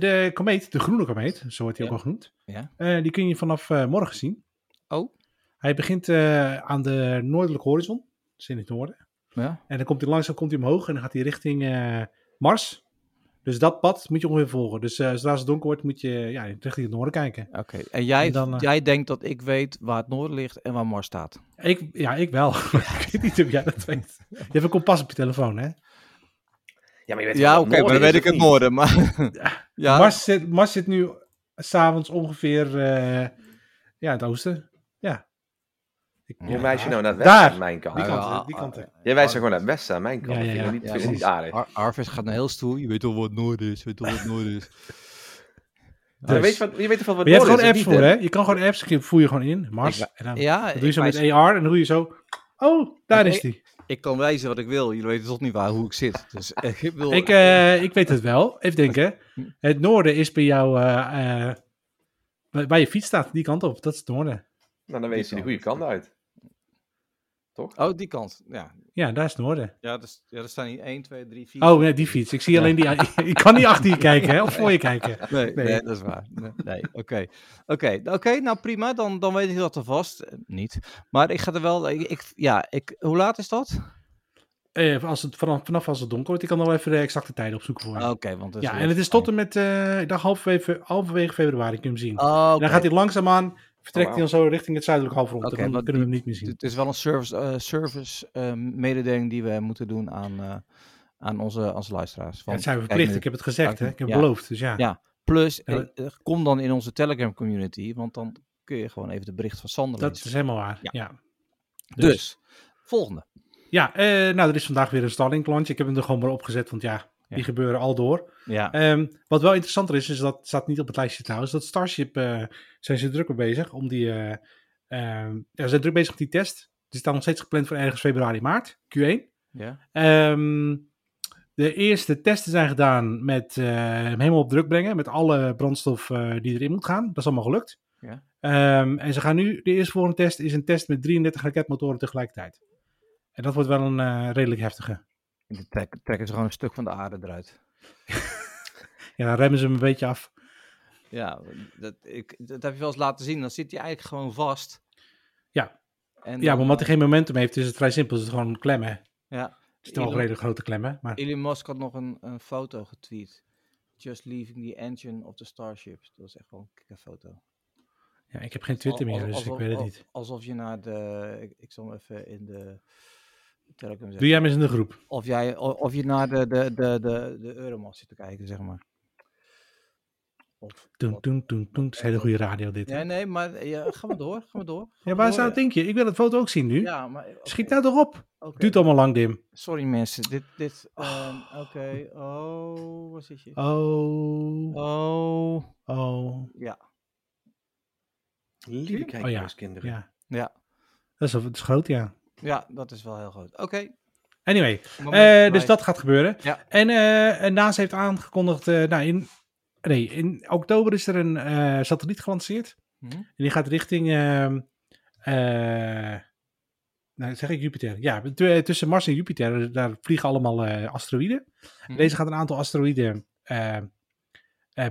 de komeet, de groene komeet, zo wordt hij Ja. ook al genoemd. Ja. Eh, die kun je vanaf eh, morgen zien. Oh, Hij begint eh, aan de noordelijke horizon, dus in het noorden. ja. En dan komt hij langzaam komt hij omhoog en dan gaat hij richting eh, Mars. Dus dat pad moet je ongeveer volgen. Dus eh, zodra het donker wordt, moet je ja, richting het noorden kijken. Oké. En, jij, En dan, eh, jij denkt dat ik weet waar het noorden ligt en waar Mars staat. Ik, ja, ik wel. *laughs* ik weet niet of jij dat weet. *laughs* Je hebt een kompas op je telefoon, hè? goed. Ja, maar je weet Ja, wel oké, wat maar dan is, weet ik of het niet? noorden. Maar... *laughs* ja. Mars, zit, Mars zit nu s'avonds ongeveer eh, ja, het oosten. Ja. Ik, Je wijst je nou naar het Daar. westen aan mijn kant. Die Ja, kant, ja, eh, die kant. eh. Jij wijst je gewoon naar het westen aan mijn Ja, kant. Dat ja, vind ja. ik niet- Ja, vind ik dat niet aardig. Ar Arvis gaat naar heel stoel. Je weet toch wat noord is. Je weet toch wat noord is. Maar Dus- weet je, wat, je weet toch wel wat Maar je hebt noorden gewoon is, apps of voor, niet, hè? Je kan gewoon apps, je voer je gewoon in, Mars. Ik- en *laughs* dan Ja, doe je ik, zo met wijs, AR en dan doe je zo... Oh, daar Ik- is die. ik kan wijzen wat ik wil. Jullie weten toch niet waar hoe ik zit. Dus eh, *laughs* ik wil... Ik, eh, ik weet het wel. Even denken. Hm. Het noorden is bij jou... eh, eh, waar waar je fiets staat, die kant op. Dat is het noorden. Nou, dan weet je de goede kant uit. Oh, die kant. Ja, Ja, daar is het noorden. ja, er, ja, er staan hier 1, 2, 3, 4. Oh, nee, die fiets. Ik zie alleen die... *laughs* Ik kan niet *laughs* achter je kijken, hè? Of voor je kijken. nee, nee. nee. dat is waar. Nee, nee, oké. Oké, nou, oké, nou prima. Dan, dan weet ik dat alvast. Eh, Niet. Maar ik ga er wel... Ik, ik- ja, ik, hoe laat is dat? Eh, als het, vanaf, vanaf als het donker wordt. Ik kan nog wel even de exacte tijden opzoeken voor je. Oké, want... Oh, dat ja, weer en het is tot en met, eh, ik dacht halverwege, halverwege februari kun je hem zien. Oh, En oké. Oh, Dan gaat hij langzaamaan vertrekt hij dan zo richting het zuidelijk halfrond. Oké, en dan want kunnen we hem niet meer zien. Het is wel een service, eh, service eh, mededeling die we moeten doen aan, eh, aan onze, onze luisteraars. Ja, Van, dat zijn we kijk verplicht. nu. Ik heb het gezegd, Kijk hè? nu. Ik heb Ja. het beloofd. Dus ja. Ja. Plus, Ja, eh, eh, kom dan in onze Telegram community, want dan kun je gewoon even de bericht van Sander dat lezen. is helemaal waar. Ja. Ja. Dus, volgende. Ja, eh, nou, er is vandaag weer een stallingklantje. Ik heb hem er gewoon maar opgezet, want ja, die Ja. gebeuren al door. Ja, Ehm, wat wel interessanter is, is dat staat niet op het lijstje trouwens. Dat Starship eh, zijn ze druk mee bezig om die. eh, ehm, ja, ze zijn druk bezig met die test. Die staat nog steeds gepland voor ergens februari, maart, Q1. ja. Ehm, de eerste testen zijn gedaan met eh, hem helemaal op druk brengen. Met alle brandstof eh, die erin moet gaan. Dat is allemaal gelukt. Ja. Ehm, en ze gaan nu, de eerste volgende test is een test met 33 raketmotoren tegelijkertijd. En dat wordt wel een eh, redelijk heftige. Dan trek- trekken ze gewoon een stuk van de aarde eruit. Ja, dan remmen ze hem een beetje af. Ja, dat, ik, dat heb je wel eens laten zien. Dan zit hij eigenlijk gewoon vast. Ja. En Ja, dan, eh, maar omdat hij geen momentum heeft, is het vrij simpel. Is het gewoon klemmen. Het ja, is wel een redelijk grote klemmen. Maar Elon Musk had nog een, een foto getweet. Just leaving the engine of the Starship. Dat was echt wel een kikke foto. ja, ik heb geen Twitter Al- meer, al- dus ik alsof- weet het al- niet. Alsof je naar de... Ik, ik zal hem even in de Telegram Doe zetten. jij hem eens in de groep. Of, jij, o- of je naar de, de, de, de, de Euromast zit te kijken, zeg maar. Of, Toen, wat- toen, toen, toen. Het is hele goede radio dit. Nee, nee, maar eh, ja, ga maar door. Ga maar door. Ja, waar door, zou ja. het denk je? Ik wil het foto ook zien nu. Ja, maar... eh, oké, Schiet nou toch op. oké. Het duurt allemaal lang, Dim. Sorry mensen, dit... dit ehm, Oké, oh, waar zit je? Oh, Oh, oh, ja, Lieve Oh ja, kijkhuiskinderen. ja. ja. Dat is, dat is groot, ja. Ja, dat is wel heel groot. Oké. Anyway, moment eh, bij- dus dat gaat gebeuren. Ja. En eh, NASA heeft aangekondigd, eh, nou in, nee, in oktober is er een eh, satelliet gelanceerd. Mhm. En die gaat richting, ehm, eh, nou zeg ik Jupiter. Ja, t- tussen Mars en Jupiter, dus daar vliegen allemaal eh, asteroïden. Mhm. Deze gaat een aantal asteroïden eh, eh,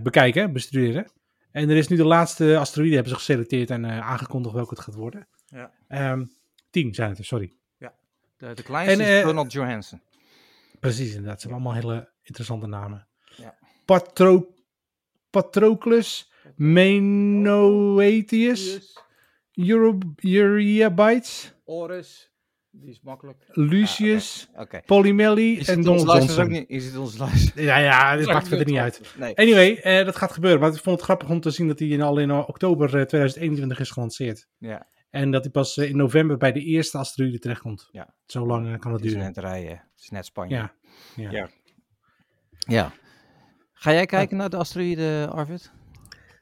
bekijken, bestuderen. En er is nu de laatste asteroïden hebben ze geselecteerd en eh, aangekondigd welke het gaat worden. Ja. Ehm, tien zijn het er, sorry. De, de kleinste En, is eh, Donald Johansen. Precies, inderdaad. Ze hebben allemaal hele interessante namen. Ja. Patro, Patroclus, Menoetius, Euro, Eurybites, Oris. Die is makkelijk. Lucius, Oké. Polymeli Je en ziet Donald ons luisteren ook Johnson. niet. Je ziet ons luisteren. Ja, ja, dit maakt verder niet uit. Nee. Anyway, eh, dat gaat gebeuren. Maar ik vond het grappig om te zien dat hij in, al in eh, oktober eh, 2021 is gelanceerd. Ja, En dat hij pas eh, in november bij de eerste asteroïde terechtkomt. Ja. Zo lang eh, kan het het is duren. net rijden. Het is net Spanje. Ja. Ja. Ga jij kijken naar de asteroïde, Arvid?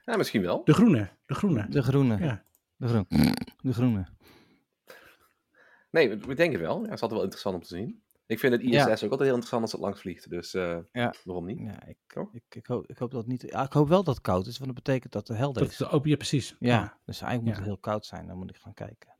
Ja, misschien wel. De groene. De groene. De groene. Ja. De groene. De groene. Nee, we, we denken wel. Ja, het is altijd wel interessant om te zien. Ik vind het ISS Ja. ook altijd heel interessant als het langs vliegt. Dus eh, Ja. waarom niet? Ja, ik, Oh. ik, ik, hoop, ik hoop dat het niet... Ja, ik hoop wel dat het koud is, want dat betekent dat het helder Dat is. is de open, ja, precies. Ja, dus eigenlijk moet Ja. het heel koud zijn. Dan moet ik gaan kijken.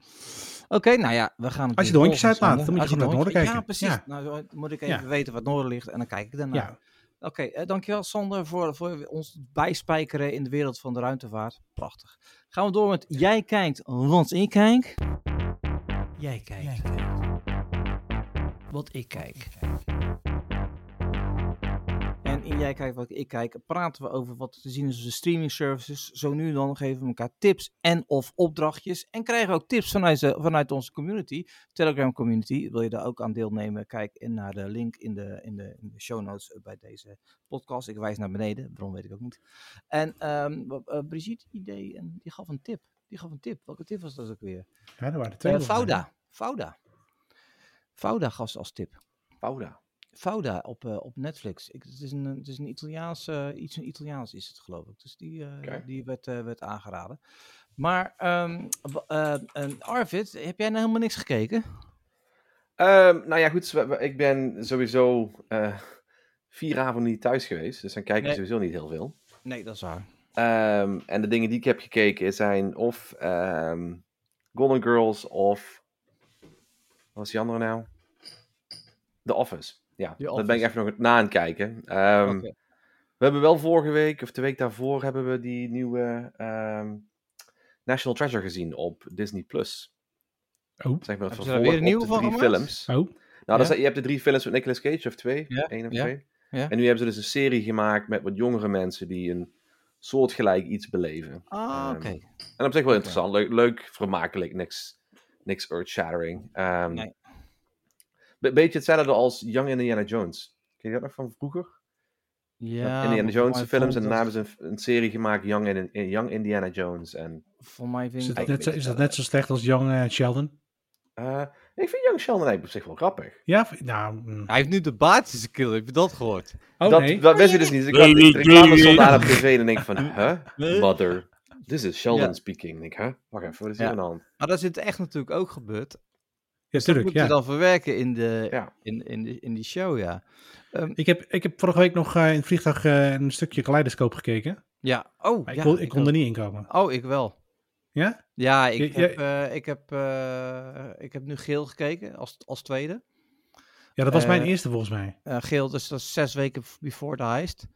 Oké, nou ja, we gaan... Als je de hondjes natuurlijk volgen, uitlaat, dan moet je Als de gewoon naar het hondjes- noorden kijken. Ja, precies. Nou, dan moet ik even Ja. weten wat noorden ligt en dan kijk ik daarna. Ja, Oké, eh, dankjewel Sander voor, voor ons bijspijkeren in de wereld van de ruimtevaart. Prachtig. Gaan we door met Jij kijkt, want ik kijk. Jij kijkt. Wat ik kijk. En in Jij kijkt, wat ik kijk, praten we over wat te zien is op de streaming services. Zo nu en dan geven we elkaar tips en of opdrachtjes. En krijgen we ook tips vanuit, de- vanuit onze community, Telegram community. Wil je daar ook aan deelnemen? Kijk in naar de link in de, in de, in de show notes eh, bij deze podcast. Ik wijs naar beneden, waarom weet ik ook niet. En ehm, w- eh, Brigitte idee, en die gaf een tip. Die gaf een tip. Welke tip was dat ook weer? ja er waren er twee. Eh volgens mij. Fouda. Fouda. Fouda gaf ze als tip. Fouda. Fouda op, eh, op Netflix. Ik, het, is een, het is een Italiaans, eh, iets in Italiaans is het geloof ik. Dus die, eh, Oké. die werd, eh, werd aangeraden. Maar ehm, w- eh, en Arvid, heb jij nou helemaal niks gekeken? Ehm, nou ja, goed. we- we- Ik ben sowieso eh, vier avonden niet thuis geweest. Dus dan kijk ik Nee. sowieso niet heel veel. Nee, dat is waar. Ehm, en de dingen die ik heb gekeken zijn of ehm Golden Girls of... Wat was die andere nou? The Office. Ja, The dat ben ik Office. even nog na aan het kijken. Ehm, Oké. We hebben wel vorige week, of de week daarvoor, hebben we die nieuwe ehm, National Treasure gezien op Disney+. Plus. Oh. Zeg maar het Hebben ze daar vervolg weer een op nieuwe de van drie gemaakt? films. Oh, Nou, Ja. dat zijn- je hebt de drie films met Nicolas Cage, of twee. Ja, één of ja, twee. ja. En nu hebben ze dus een serie gemaakt met wat jongere mensen die een soortgelijk iets beleven. Ah, Ehm, oké. En op zich wel interessant. Leuk, leuk vermakelijk. Niks, niks earth-shattering. Ehm Nee. be- beetje hetzelfde als Young Indiana Jones. Ken je dat nog van vroeger? Ja, Indiana maar Jones voor mij films en vond daarna dat- hebben ze een, een serie gemaakt, Young, in, Young Indiana Jones. En, Voor mij vind Is ik dat, dat- net, zo- is dat net zo slecht als Young eh, Sheldon? eh, ik vind Young Sheldon eigenlijk op zich wel grappig. Ja, v- nou... mm. Hij heeft nu de baardjes killen, heb je dat gehoord? Oh dat, nee. dat wist je dus niet. Dus ik had de reclame stond daar op tv en ik van, huh? Mother. This is Sheldon Ja. speaking. Ik, denk, huh? Wacht even, wat is hier Ja. aan de hand? Maar dat is in het echt natuurlijk ook gebeurd. ja, tuurlijk, Moet je ja. dan verwerken in, de, Ja. in, in, de, in die show, ja. Ik heb, ik heb vorige week nog eh, in het vliegtuig eh, een stukje kaleidoscoop gekeken. Ja, oh, Maar ja, ik, kon, ik kon wil- er niet in komen. Oh, ik wel. Ja? Ja, ik Je- heb, eh, ik heb, eh, ik heb nu geel gekeken als, als tweede. Ja, dat was mijn Eh, eerste volgens mij. Eh, geel, dus dat is zes weken f- before the heist.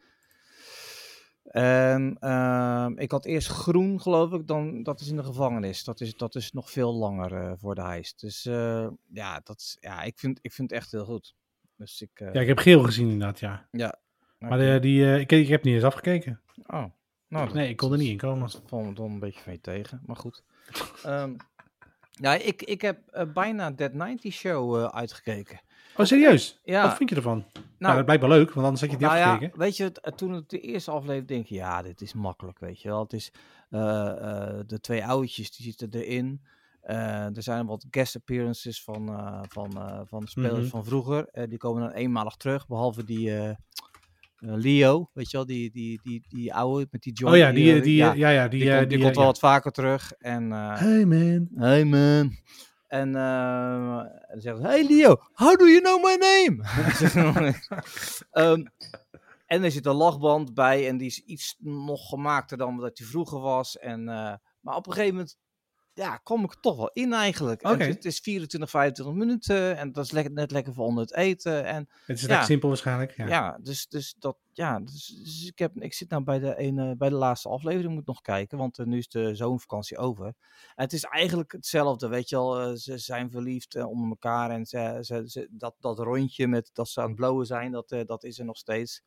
En ehm, ik had eerst groen, geloof ik, dan dat is in de gevangenis. Dat is, dat is nog veel langer eh, voor de heist. Dus eh, ja, dat is, ja ik, vind, ik vind het echt heel goed. Dus ik, eh, nou, Ja, ik heb geel gezien inderdaad, ja. Maar oké. eh, die, eh, ik, ik heb niet eens afgekeken. Oh, nou, dat- Nee, ik kon er niet in komen. Dat valt me dan een beetje mee tegen, maar goed. *laughs* Ehm, ja, ik, ik heb eh, bijna Dead 90 Show eh, uitgekeken. Oh, serieus? Ja. Wat vind je ervan? Nou, Nou, dat blijkt wel leuk, want anders had je die nou ja, afgekeken. weet je, t- toen het de eerste aflevering denk je, ja, dit is makkelijk, weet je wel. Het is eh, eh, de twee oudjes, die zitten erin. Eh, er zijn wat guest appearances van, eh, van, eh, van de spelers Mhm. van vroeger. Eh, die komen dan eenmalig terug, behalve die eh, eh, Leo, weet je wel, die, die, die, die oude met die John. oh ja, die, eh, die, ja, ja, ja, ja, die, die, eh, komt, die, die, komt eh, wel ja. wat vaker terug. En eh, Hey man. Hey man. En eh, dan zegt hij, hey Leo, how do you know my name? Ehm, en er zit een lachband bij en die is iets nog gemaakter dan dat hij vroeger was. En, eh, maar op een gegeven moment ja, kom ik er toch wel in eigenlijk. En Oké. het, het is 24, 25 minuten en dat is lekker, net lekker voor onder het eten. En Het is Ja. lekker simpel waarschijnlijk. ja, Ja. dus, dus dat, ja, dus, dus ik, heb, ik zit nou bij de, ene, bij de laatste aflevering, moet nog kijken, want eh, nu is de zomervakantie over. En het is eigenlijk hetzelfde, weet je wel, eh, ze zijn verliefd eh, onder elkaar en ze, ze, ze- dat, dat rondje met dat ze aan het blowen zijn, dat, eh, dat is er nog steeds.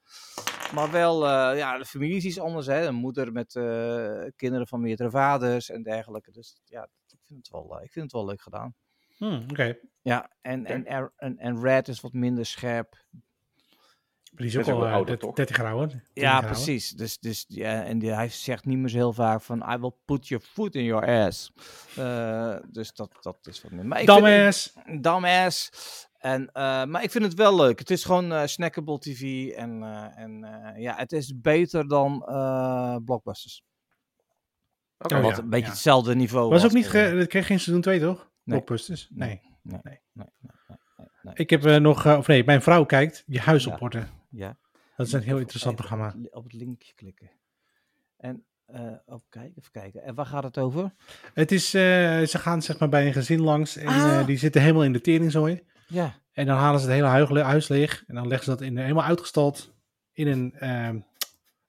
Maar wel, eh, ja, de familie is iets anders, hè, een moeder met eh, kinderen van meerdere vaders en dergelijke. Dus ja, ik vind het wel, eh, ik vind het wel leuk gedaan. Hmm, Oké, Ja, en, en, en, en, en Red is wat minder scherp. maar die is ook is ook al wel eh, ouder, dert- toch? 30 jaar ouder. 30 jaar Ja, ouder. precies. Dus, dus, ja, en die, hij zegt niet meer zo heel vaak van... I will put your foot in your ass. Eh, dus dat, dat is wat meer. Maar ik vind- Dumbass. Dumbass. En, eh, maar ik vind het wel leuk. Het is gewoon eh, snackable tv. En, eh, en eh, ja, het is beter dan eh, blockbusters. Oké. Oh, Wat ja, een beetje ja. hetzelfde niveau Was ook niet, eh, ge- dat kreeg geen seizoen 2 toch? Nee. Blockbusters? Nee. Nee. Nee, nee. nee, nee, nee. Ik heb eh, nog, eh, of nee, mijn vrouw kijkt Je Huis Ja. op Orde. Ja. Dat is een heel Even- interessant even programma. op het li- Op het linkje klikken. En eh op kijken, even kijken. En waar gaat het over? Het is, eh, ze gaan zeg maar bij een gezin langs en Ah. eh, die zitten helemaal in de teringzooi. Ja. En dan halen ze het hele huig- huis leeg en dan leggen ze dat in, helemaal uitgestald in een ehm,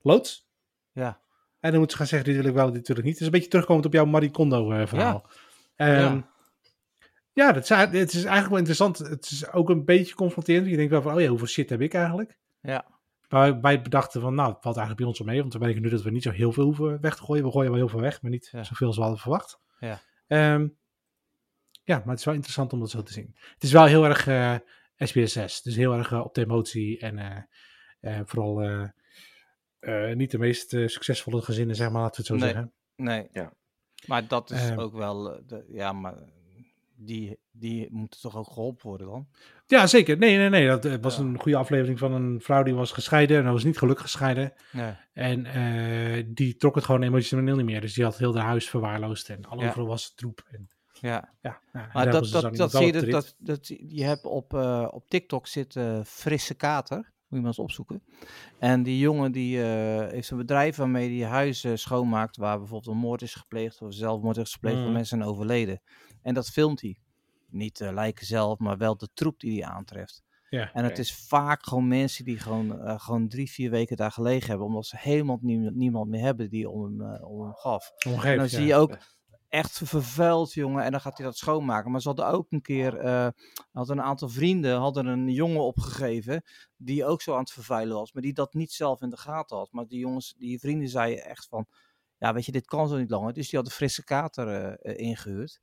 loods. Ja. En dan moeten ze gaan zeggen, dit wil ik wel, dit wil ik niet. Het is een beetje terugkomend op jouw Marie Kondo eh, verhaal. Ehm, Ja. ja, dat is, het is eigenlijk wel interessant. Het is ook een beetje confronterend. Je denkt wel van, oh ja, hoeveel shit heb ik eigenlijk? Ja. Maar wij bedachten van, nou, het valt eigenlijk bij ons wel mee. Want we merken nu dat we niet zo heel veel hoeven weg te gooien. We gooien wel heel veel weg, maar niet Ja. zoveel als we hadden verwacht. Ja. Ehm, ja, maar het is wel interessant om dat zo te zien. Het is wel heel erg eh SBS6. Dus heel erg eh, op de emotie. En eh, eh, vooral eh, eh, niet de meest eh, succesvolle gezinnen, zeg maar, laten we het zo Nee. zeggen. Nee. Ja. Maar dat is Ehm. ook wel. eh, De, ja, maar die, die moeten toch ook geholpen worden dan? Ja, zeker. Nee, nee, nee. Dat eh, was Ja. een goede aflevering van een vrouw die was gescheiden. En dat was niet gelukkig gescheiden. Nee. En eh, die trok het gewoon emotioneel niet meer. Dus die had heel haar huis verwaarloosd. En al Ja. overal was het troep. En, Ja. ja, nou, en Maar daar was dat, dus dat, dan dat iemand zie je. wel op Dat, de rit. dat, dat- je hebt op, eh, op TikTok zit eh, Frisse Kater. Moet je maar eens opzoeken. En die jongen die eh, heeft een bedrijf waarmee die huizen schoonmaakt. Waar bijvoorbeeld een moord is gepleegd. Of zelfmoord is gepleegd. Waar Mm. mensen zijn overleden. En dat filmt hij. Niet de lijken zelf, maar wel de troep die hij aantreft. Ja. En het Oké. is vaak gewoon mensen die gewoon, eh, gewoon drie, vier weken daar gelegen hebben. Omdat ze helemaal nie- niemand meer hebben die om hem, eh, om hem gaf. En Omgeven, dan ja. zie je ook, echt vervuild, jongen. En dan gaat hij dat schoonmaken. Maar ze hadden ook een keer, eh hadden een aantal vrienden, hadden een jongen opgegeven. Die ook zo aan het vervuilen was. Maar die dat niet zelf in de gaten had. Maar die jongens, die vrienden zeiden echt van, ja weet je, dit kan zo niet langer. Dus die hadden frisse kater eh, eh, ingehuurd.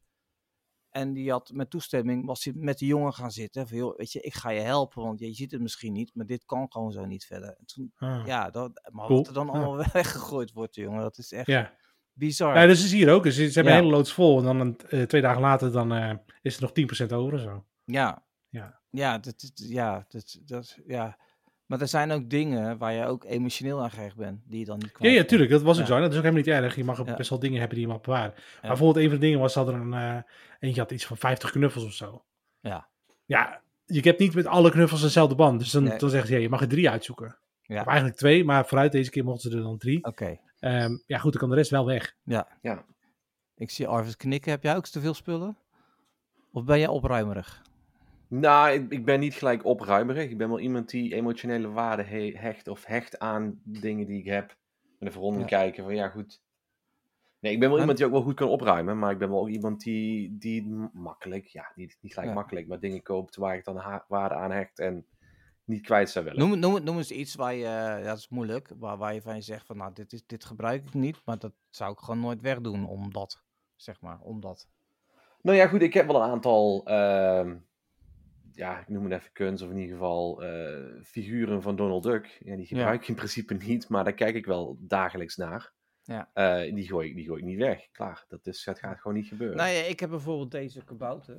En die had met toestemming, was hij met de jongen gaan zitten. Van, joh, weet je, ik ga je helpen, want je ziet het misschien niet. Maar dit kan gewoon zo niet verder. En toen, Ah, ja. ja, dat, maar Cool. wat er dan allemaal *laughs* weggegooid wordt, jongen. Dat is echt Ja. bizar. ja, dus is hier ook. Dus ze hebben Ja. een hele loods vol. En dan een- eh, twee dagen later dan, eh, is er nog 10% over en zo. Ja. Ja. Ja, dat, dat- ja, dat, dat, ja. Maar er zijn ook dingen waar je ook emotioneel aan gehecht bent, die je dan niet Ja, kwijt ja, tuurlijk. Dat was ook Ja. zo. En Dat is ook helemaal niet erg. Je mag ook Ja. best wel dingen hebben die je mag bewaren. Maar Ja. bijvoorbeeld een van de dingen was, dat er een... eh, eentje had iets van 50 knuffels of zo. Ja. Ja, je hebt niet met alle knuffels dezelfde band. Dus dan, Nee. dan zeggen ze, ja, je mag er drie uitzoeken. Ja. Of eigenlijk twee, maar vooruit deze keer mochten ze er dan drie. Oké, Ehm, ja, goed, dan kan de rest wel weg. ik zie Arvis knikken. Heb jij ook te veel spullen? Of ben jij opruimerig? Nou, ik, ik ben niet gelijk opruimerig. Ik ben wel iemand die emotionele waarde he- hecht of hecht aan dingen die ik heb. En even rondom Ja. kijken van ja, goed. Nee, ik ben wel Maar- iemand die ook wel goed kan opruimen, maar ik ben wel ook iemand die, die m- makkelijk, ja, niet, niet gelijk Ja. makkelijk, maar dingen koopt waar ik dan ha- waarde aan hecht en niet kwijt zou willen. Noem, noem, noem eens iets waar je, ja, dat is moeilijk, waar, waar je van je zegt van nou, dit, is, dit gebruik ik niet, maar dat zou ik gewoon nooit wegdoen omdat, zeg maar, omdat. Nou ja, goed, ik heb wel een aantal, ehm, ja, ik noem het even kunst, of in ieder geval eh, figuren van Donald Duck. Ja, die Ja. gebruik ik in principe niet, maar daar kijk ik wel dagelijks naar. Ja. Eh, die, gooi, ik- die gooi ik niet weg, klaar. Dat, is, dat gaat gewoon niet gebeuren. Nou ja, ik heb bijvoorbeeld deze kabouter,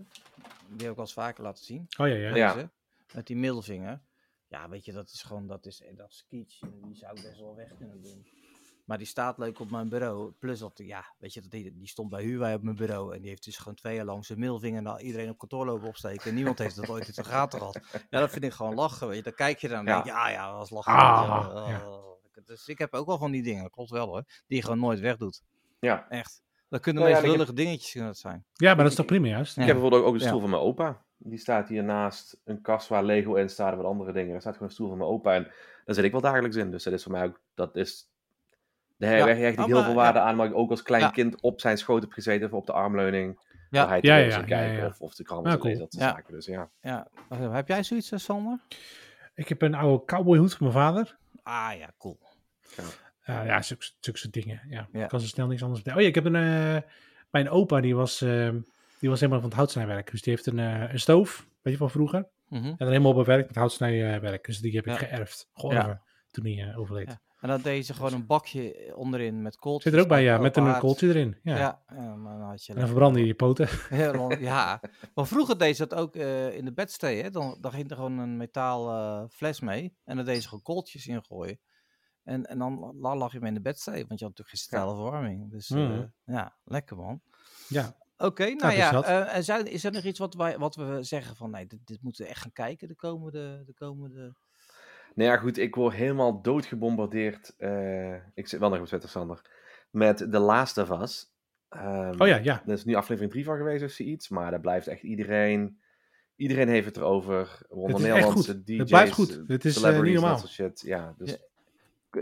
die heb ik al eens vaker laten zien. Oh ja, ja. Ja. Deze, Met die middelvinger. Ja, weet je, dat is gewoon, dat is, eh, dat is kitsch. En die zou ik best wel weg kunnen doen. Maar die staat leuk op mijn bureau. Plus dat, ja, weet je, dat die, die stond bij Huwei op mijn bureau. En die heeft dus gewoon twee jaar lang zijn middelvinger naar iedereen op kantoor lopen opsteken. En niemand heeft dat ooit in de gaten gehad. Ja, dat vind ik gewoon lachen, weet je. Dan kijk je dan en Ja. denk je, ah ja, dat was lachen. Ah, Eh, ja. eh, Dus ik heb ook wel van die dingen, klopt wel hoor. Die je gewoon nooit wegdoet. Ja. Echt. Dat kunnen Nou ja, meest en ik heb- lullige dingetjes kunnen dat zijn. Ja, maar dat is toch prima juist? Ja. Ik heb bijvoorbeeld ook, ook de Ja. stoel van mijn opa. Die staat hier naast een kast waar Lego in staat en wat andere dingen. Daar staat gewoon een stoel van mijn opa en daar zit ik wel dagelijks in. Dus dat is voor mij ook, dat is... Daar Ja. hecht ik Oh, heel maar- veel ja. waarde aan, maar ik ook als klein Ja. kind op zijn schoot heb gezeten of op de armleuning. Ja. waar hij Ja, ja, ja, ja, ja, kijken ja. Of, of de krant Ja, ja, cool. dat soort Ja. zaken. Dus ja. Ja. Eh, Heb jij zoiets, eh, Sander? Ik heb een oude cowboyhoed van mijn vader. Ah ja, cool. Eh, ja, zulke, zulke soort dingen. Ja. Ja. Ik kan zo snel niks anders vertellen. Oh ja, ik heb een... eh, mijn opa, die was, eh, die was helemaal van het houtsnijwerk. Dus die heeft een, eh, een stoof, weet je, van vroeger. Mhm. En dan helemaal bewerkt met houtsnijwerk. Dus die heb ik Ja. geërfd. Georven. Toen hij eh, overleed. Ja. En dat deed ze gewoon een bakje eh, onderin met kooltjes. Zit er ook bij, Nou, ja. Met open een haard. kooltje erin. Ja. Ja, eh, maar dan had je... En dan verbrandde je je poten. *laughs* *laughs* Heel lang- ja, maar vroeger deed ze dat ook eh, in de bedstee. Hè? Dan, dan ging er gewoon een metaal eh, fles mee. En dan deed ze gewoon kooltjes in gooien. En, en dan la- lag je mee in de bedstee. Want je had natuurlijk geen stijle verwarming. Dus eh, Mhm. ja, lekker man. Ja. Oké, nou dus ja. dat. eh, en zijn, is er nog iets wat, wij, wat we zeggen van... Nee, dit, dit moeten we echt gaan kijken de komende... De komende... Nou ja, goed, ik word helemaal doodgebombardeerd. eh, ik zit wel nog op Twitter, Sander. Met The Last of Us. Ehm, Oh ja, ja. Er is nu aflevering 3 van geweest of zoiets. Maar daar blijft echt iedereen... Iedereen heeft het erover. Onder Het is echt Nederlandse goed. DJ's. Het blijft goed. eh, Het is, eh, celebrities, niet normaal. Dat soort shit. Ja, dus Ja.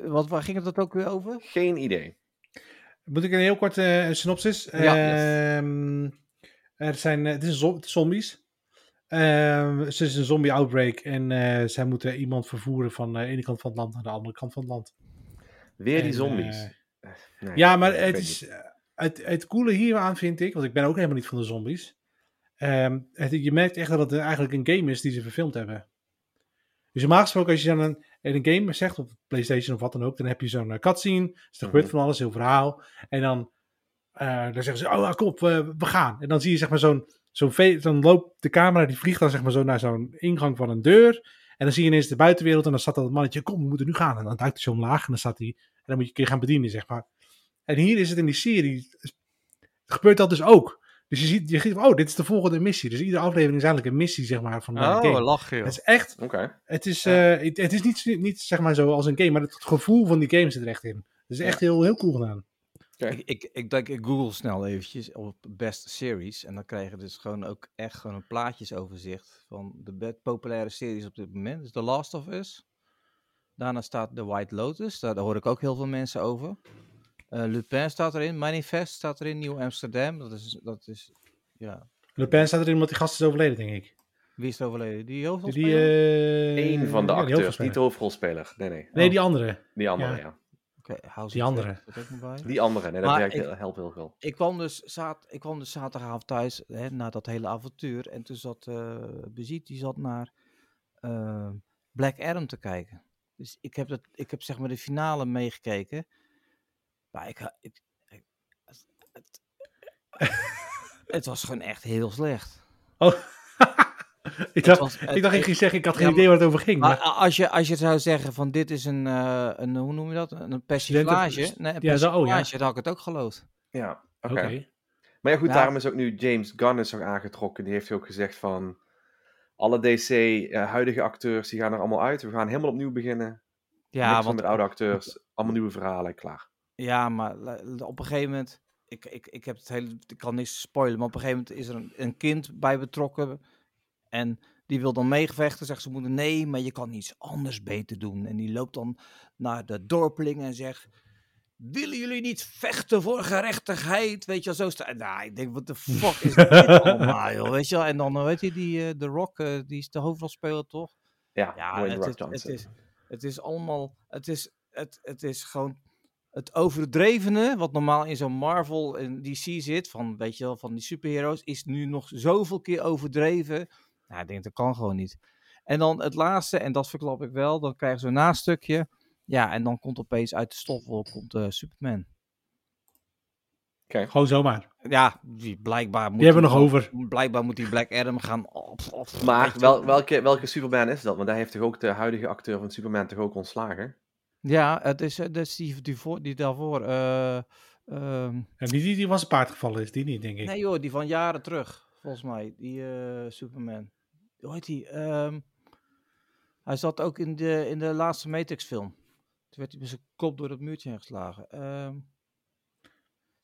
Wat, waar ging het dat ook weer over? geen idee. Moet ik een heel kort eh, synopsis? Ja, Ehm, er zijn, eh, het is zo- het is zombies. Ehm het is een zombie outbreak en eh, zij moeten iemand vervoeren van eh, de ene kant van het land naar de andere kant van het land. Weer die En, zombies. eh, Nee, ja, maar ik het weet is niet. eh, het, het coole hieraan vind ik, want ik ben ook helemaal niet van de zombies. Ehm, het- je merkt echt dat het eigenlijk een game is die ze verfilmd hebben. Dus normaal gesproken als je dan een, in een game zegt op PlayStation of wat dan ook, dan heb je zo'n eh, cutscene, dus er gebeurt Mhm. van alles, heel verhaal, en dan, eh, dan zeggen ze, oh ja, kom op, we, we gaan. En dan zie je zeg maar zo'n, zo'n ve- dan loopt de camera, die vliegt dan zeg maar zo naar zo'n ingang van een deur, en dan zie je ineens de buitenwereld en dan staat dat mannetje, kom, we moeten nu gaan. En dan duikt hij zo omlaag en dan staat hij, en dan moet je een keer gaan bedienen, zeg maar. En hier is het in die serie, gebeurt dat dus ook. Dus je ziet, je ziet, oh, dit is de volgende missie. Dus iedere aflevering is eigenlijk een missie, zeg maar, van eh, Oh, een game. lach je. Het is echt, Oké. het is, Ja. eh, het, het is niet, niet zeg maar zo als een game, maar het gevoel van die game zit er echt in. Het is echt heel, heel cool gedaan. Ik, ik, ik denk, ik google snel eventjes op best series. En dan krijg je dus gewoon ook echt gewoon een plaatjesoverzicht van de be- populaire series op dit moment. Dus The Last of Us. Daarna staat The White Lotus. Daar, daar hoor ik ook heel veel mensen over. Eh, Lupin staat erin, Manifest staat erin, Nieuw Amsterdam. Dat is, dat is, ja. Le Pen staat erin omdat die gast is overleden, denk ik. Wie is er overleden? Die Die, hoofdrolspeler? die, eh, Eén van de ja, die acteurs, niet de hoofdrolspeler. hoofdrolspeler. Nee, nee. Nee, die andere. Die andere, ja. Ja. Oké, House die of andere. Dragons staat ook nog bij. Die andere, nee, dat Maar werkt, ik- heel- helpt heel veel. Ik kwam dus, zaad, ik kwam dus zaterdagavond thuis hè, na dat hele avontuur. En toen zat eh Bezit, die zat naar eh, Black Adam te kijken. Dus ik heb, dat, ik heb zeg maar de finale meegekeken. Maar ik, ha- ik, ik- het, het, *laughs* het was gewoon echt heel slecht. Oh. *laughs* ik, Het dacht, was- het- ik dacht, ik het- ging zeggen, ik had Ja, geen maar- idee waar het over ging. maar Maar, a- als je, als je zou zeggen van dit is een, eh, een hoe noem je dat? Een persiflage. Nee, eh, een ja, zo- oh, ja. ah, persiflage, dan had ik het ook geloofd. Ja, oké. Oké. Maar ja, goed, Ja. daarom is ook nu James Gunn is ook aangetrokken. Die heeft ook gezegd van... Alle DC, eh, huidige acteurs, die gaan er allemaal uit. We gaan helemaal opnieuw beginnen. Ja, Ja, want met oude acteurs. Allemaal nieuwe verhalen, klaar. Ja, maar la- op een gegeven moment. Ik, ik, ik, heb het hele, ik kan niks spoilen, maar op een gegeven moment is er een, een kind bij betrokken. En die wil dan meegevechten. Zegt ze moeder: Nee, maar je kan iets anders beter doen. En die loopt dan naar de dorpeling en zegt: Willen jullie niet vechten voor gerechtigheid? Weet je wel, zo staan. Nou, ik denk: Wat de fuck is dit allemaal, joh? Weet je wel? En dan, weet je, die eh, The Rock, eh, die is de hoofdrolspeler toch? Ja, Ja, het, Dwayne Rock is- het, Johnson. is, het is allemaal. Het is, het, het is gewoon. Het overdrevene, wat normaal in zo'n Marvel en DC zit, van, weet je wel, van die superhero's, is nu nog zoveel keer overdreven. Nou, ik denk, dat kan gewoon niet. En dan het laatste, en dat verklap ik wel, dan krijgen ze een nastukje. Ja, en dan komt opeens uit de stofwolk komt, eh, Superman. Gewoon zomaar. Ja, die, blijkbaar moet Die hebben we die- nog over. Blijkbaar moet die Black Adam gaan... Op, op- weet Maar je wel, welke, welke Superman is dat? Want daar heeft toch ook de huidige acteur van Superman toch ook ontslagen? Ja, het is, het is die, die, voor, die daarvoor. eh, ehm, En die, die, die was een paard gevallen is, die niet, denk ik. nee joh, die van jaren terug, volgens mij. Die eh, Superman. Hoe heet die? Ehm, hij zat ook in de, in de laatste Matrix film. Toen werd hij met zijn kop door dat muurtje heen geslagen. Ehm,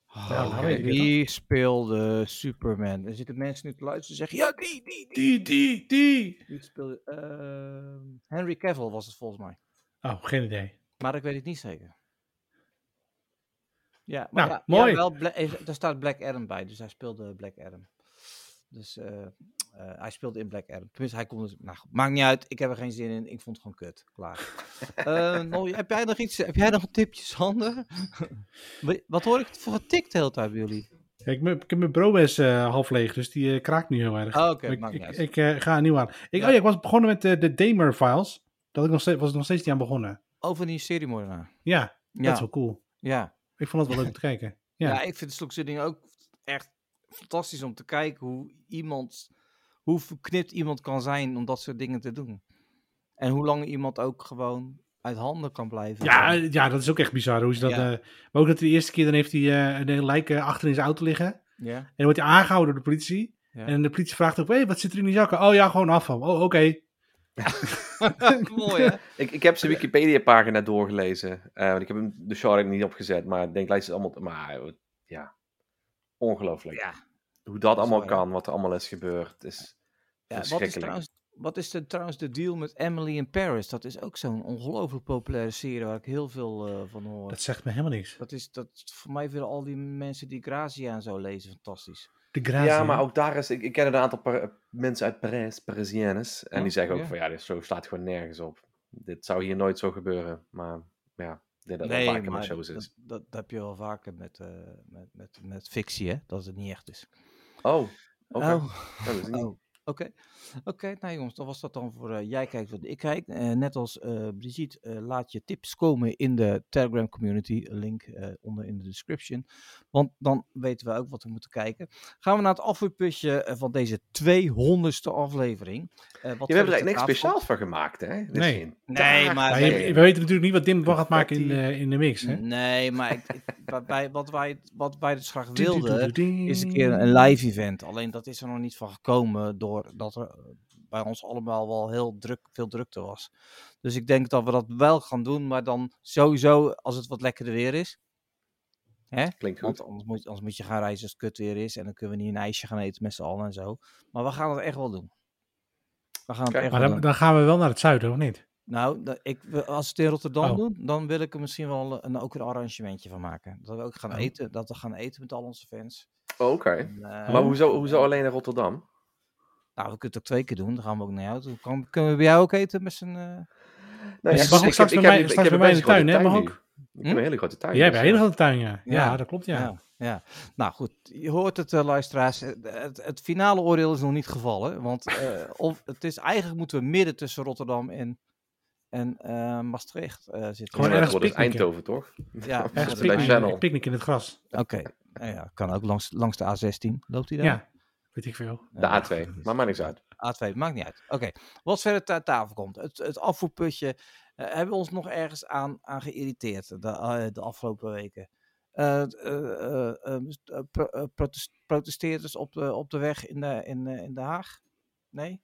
oh, nou oké. weet ik het wie speelde Superman? Er zitten mensen nu te luisteren en zeggen, ja, die, die, die. Die, die, die. Die speelde, ehm, Henry Cavill was het volgens mij. Oh, geen idee. Maar ik weet het niet zeker. Ja, maar Nou, ja, mooi. ja, wel Bla- eh, daar staat Black Adam bij, dus hij speelde Black Adam. Dus eh, eh, hij speelde in Black Adam. Tenminste, hij kon dus... Nou, goed, maakt niet uit, ik heb er geen zin in. Ik vond het gewoon kut. *laughs* Klaar. Eh, Nol, heb jij nog iets? Heb jij nog tipjes handen? *laughs* Wat hoor ik voor getikt de hele tijd bij jullie? Ja, ik, heb- ik heb mijn bromes eh, half leeg, dus die eh, kraakt nu heel erg. Oh, Oké, Maar maakt ik niet ik, uit. ik, eh, ga een nieuw aan. Ik, Ja. Oh ja, ik was begonnen met eh, de Damer Files. Dat ik nog steeds, was ik nog steeds niet aan begonnen. Over die seriemoordenaar. Ja, Ja, dat is wel cool. ja. Ik vond het wel leuk om te *laughs* kijken. Ja. Ja. ik vind zulke soort dingen ook echt fantastisch om te kijken hoe iemand, hoe verknipt iemand kan zijn om dat soort dingen te doen. En hoe lang iemand ook gewoon uit handen kan blijven. Ja, ja, dat is ook echt bizar hoe ze dat. Ja. eh, maar ook dat hij de eerste keer dan heeft hij eh, een hele lijk eh, achter in zijn auto liggen. En *laughs* ja. dan wordt hij aangehouden door de politie. Ja. En de politie vraagt ook: hey, wat zit er in die zakken? Oh ja, gewoon afval. Oh, oké. Ah, *laughs* Mooi hè? Ik, ik heb zijn Wikipedia-pagina doorgelezen. eh, want ik heb hem de show niet opgezet. Maar ik denk, lijst het allemaal... Maar eh, ja, ongelooflijk. Ja. Hoe dat allemaal waar, hè? kan, wat er allemaal is gebeurd. Is, Ja, wat is Verschrikkelijk. trouwens, wat is de, trouwens de deal met Emily in Paris? Dat is ook zo'n ongelooflijk populaire serie waar ik heel veel eh, van hoor. Dat zegt me helemaal niks. Dat is, dat, voor mij vinden al die mensen die Grazia en zo lezen fantastisch. De ja, gratie. maar ook daar is... Ik, ik ken een aantal Par- mensen uit Parijs, Parisiennes. En Ja, die zeggen ook ja. van, ja, dit zo slaat gewoon nergens op. Dit zou hier nooit zo gebeuren. Maar ja, ik denk dat dat nee, vaker met maar shows dat, is. dat, dat heb je wel vaker met, eh, met, met, met fictie, hè? Dat het niet echt is. Oh, Oh, oké. Oh, dat is niet- oh, oké. Oké, nou jongens, dan was dat dan voor eh, jij kijkt wat ik kijk. Eh, net als eh, Brigitte, eh, laat je tips komen in de Telegram community. Link eh, onder in de description. Want dan weten we ook wat we moeten kijken. Gaan we naar het afvoerputje eh, van deze 200ste aflevering. Eh, wat Je hebt er verder eigenlijk te niks tafel- speciaals van gemaakt, hè? Dit is Nee. geen Nee, taart. maar- Maar je- Nee. we weten natuurlijk niet wat Dim Bog gaat maken in, Confetti. eh, in de mix. Hè? Nee, maar ik, ik- *laughs* bij- bij, wat, wij, wat wij dus graag Du- du- wilden... du- du- du- is een keer een live event. Alleen dat is er nog niet van gekomen doordat er eh, bij ons allemaal wel heel druk, veel drukte was. Dus ik denk dat we dat wel gaan doen, maar dan sowieso als het wat lekkerder weer is. Hè? Klinkt goed. Want anders moet, anders moet je gaan reizen als het kut weer is en dan kunnen we niet een ijsje gaan eten met z'n allen en zo. Maar we gaan het echt wel doen. We gaan het Kijk, echt Maar wel dan, doen. dan gaan we wel naar het zuiden, of niet? Nou, da- ik, we- als we het in Rotterdam Oh. doen, dan wil ik er misschien wel eh, een, ook een arrangementje van maken. Dat we ook gaan Oh. eten, dat we gaan eten met al onze fans. Oh, Oké. En, eh, Maar hoezo, hoezo alleen naar Rotterdam? Nou, we kunnen het ook twee keer doen, dan gaan we ook naar jou toe. Kan, kunnen we bij jou ook eten met z'n... eh, Nee, je mag ook straks bij mij, straks bij mij in de tuin, hè? Mag ook. Ik heb een hele grote tuin. Jij hebt dus, een hele eh, grote tuin, ja. Ja. Ja, dat klopt, ja. Ja, ja. Nou goed, je hoort het, eh, luisteraars. Eh, Het, het finale oordeel is nog niet gevallen. Want eh, of, het is, eigenlijk moeten we midden tussen Rotterdam en, en eh, Maastricht eh, zitten. Gewoon maar ergens dat wordt dus picknicken. Eindhoven, toch? *laughs* Ja, Echt Echt Rotterdam. bij picknick, Channel. picknick in het gras. Oké, nou ja, kan ook langs, langs de A16. Loopt die Ja. daar? Nou, Weet ik veel. Ja, De A2. Maar maakt niks uit. A2, maakt niet uit. Oké, wat verder ter tafel komt. Het, het afvoerputje. eh, hebben we ons nog ergens aan, aan geïrriteerd de, eh, de afgelopen weken? Eh, eh, eh, eh, eh, pro- eh, protes- protesteerders op de, op de weg in, de, in, eh, in Den Haag? Nee?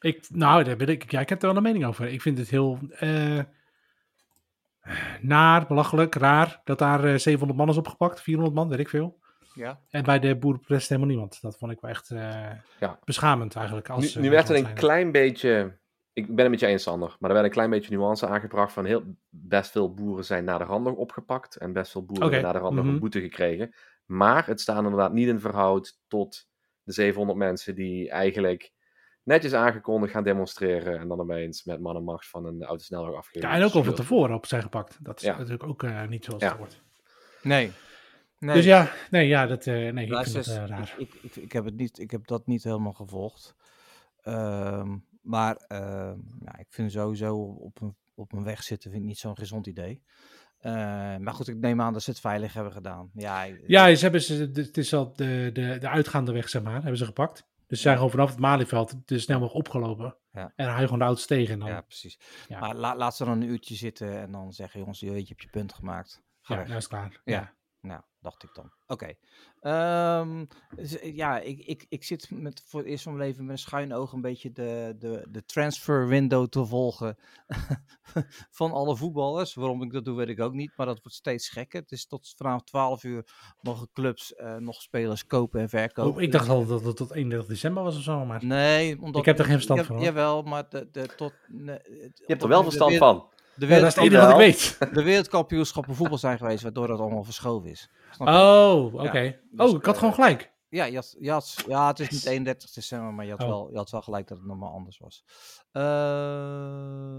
Ik, nou, daar ben ik, ja, ik heb er wel een mening over. Ik vind het heel eh, naar, belachelijk, raar dat daar eh, 700 man is opgepakt. 400 man, weet ik veel. Ja. En bij de boerenprotest helemaal niemand. Dat vond ik wel echt eh, Ja. beschamend eigenlijk. Als, nu eh, nu werd als er een zijnde. klein beetje. Ik ben het met je eens, Sander. Maar er werd een klein beetje nuance aangebracht van heel, best veel boeren zijn naar de rand opgepakt. En best veel boeren Oké, hebben naar de rand mhm. een boete gekregen. Maar het staat inderdaad niet in verhoud tot de 700 mensen die eigenlijk netjes aangekondigd gaan demonstreren. En dan opeens met man en macht van een autosnelweg afgeven. Ja, en ook al van tevoren op zijn gepakt. Dat is Ja. natuurlijk ook eh, niet zoals Ja. het hoort. Nee. nee. Dus ja, nee, ja, dat, eh, nee, ik vind Luister dat eh, eens, raar. ik, ik, ik, ik heb het niet, ik heb dat niet helemaal gevolgd. Ehm, maar ehm, nou, ik vind sowieso op- op een, op een weg zitten vind ik niet zo'n gezond idee. Eh, maar goed, ik neem aan dat ze het veilig hebben gedaan. Ja, ik- Ja, ze hebben ze, de- het is al de, de, de uitgaande weg, zeg maar, hebben ze gepakt. Dus ze zijn gewoon vanaf het Malieveld de snelweg opgelopen. Ja. En dan hou je gewoon de auto's tegen. En dan, ja ja, precies. Ja. Maar la- laat ze dan een uurtje zitten en dan zeggen, jongens, je weet, je hebt je punt gemaakt. Ga weg. nou is het klaar. Ja. Nou, dacht ik dan. Oké. Ehm, z- ja, ik, ik, ik zit met, voor het eerst van mijn leven met een schuin oog een beetje de, de, de transfer window te volgen *laughs* van alle voetballers. Waarom ik dat doe, weet ik ook niet. Maar dat wordt steeds gekker. Het is tot vanavond 12 uur mogen clubs eh, nog spelers kopen en verkopen. Oh, ik dacht al dat het tot 31 december was of zo, maar... Nee, omdat... Ik heb er geen verstand Ja- van, hoor. Jawel, maar de, de, tot... nee, Je hebt omdat er wel nu de verstand wereld- van. De, Ja, dat wereld, is het enige wat ik Ideaal. *laughs* weet. de wereldkampioenschappen voetbal zijn geweest, waardoor dat allemaal verschoven is. Snap je? Oh, oké. dus, oh, ik had eh, gewoon gelijk. Ja, je had, je had- ja, het is niet Yes. 31 december, maar je had, Oh. wel, je had wel gelijk dat het normaal anders was. Eh,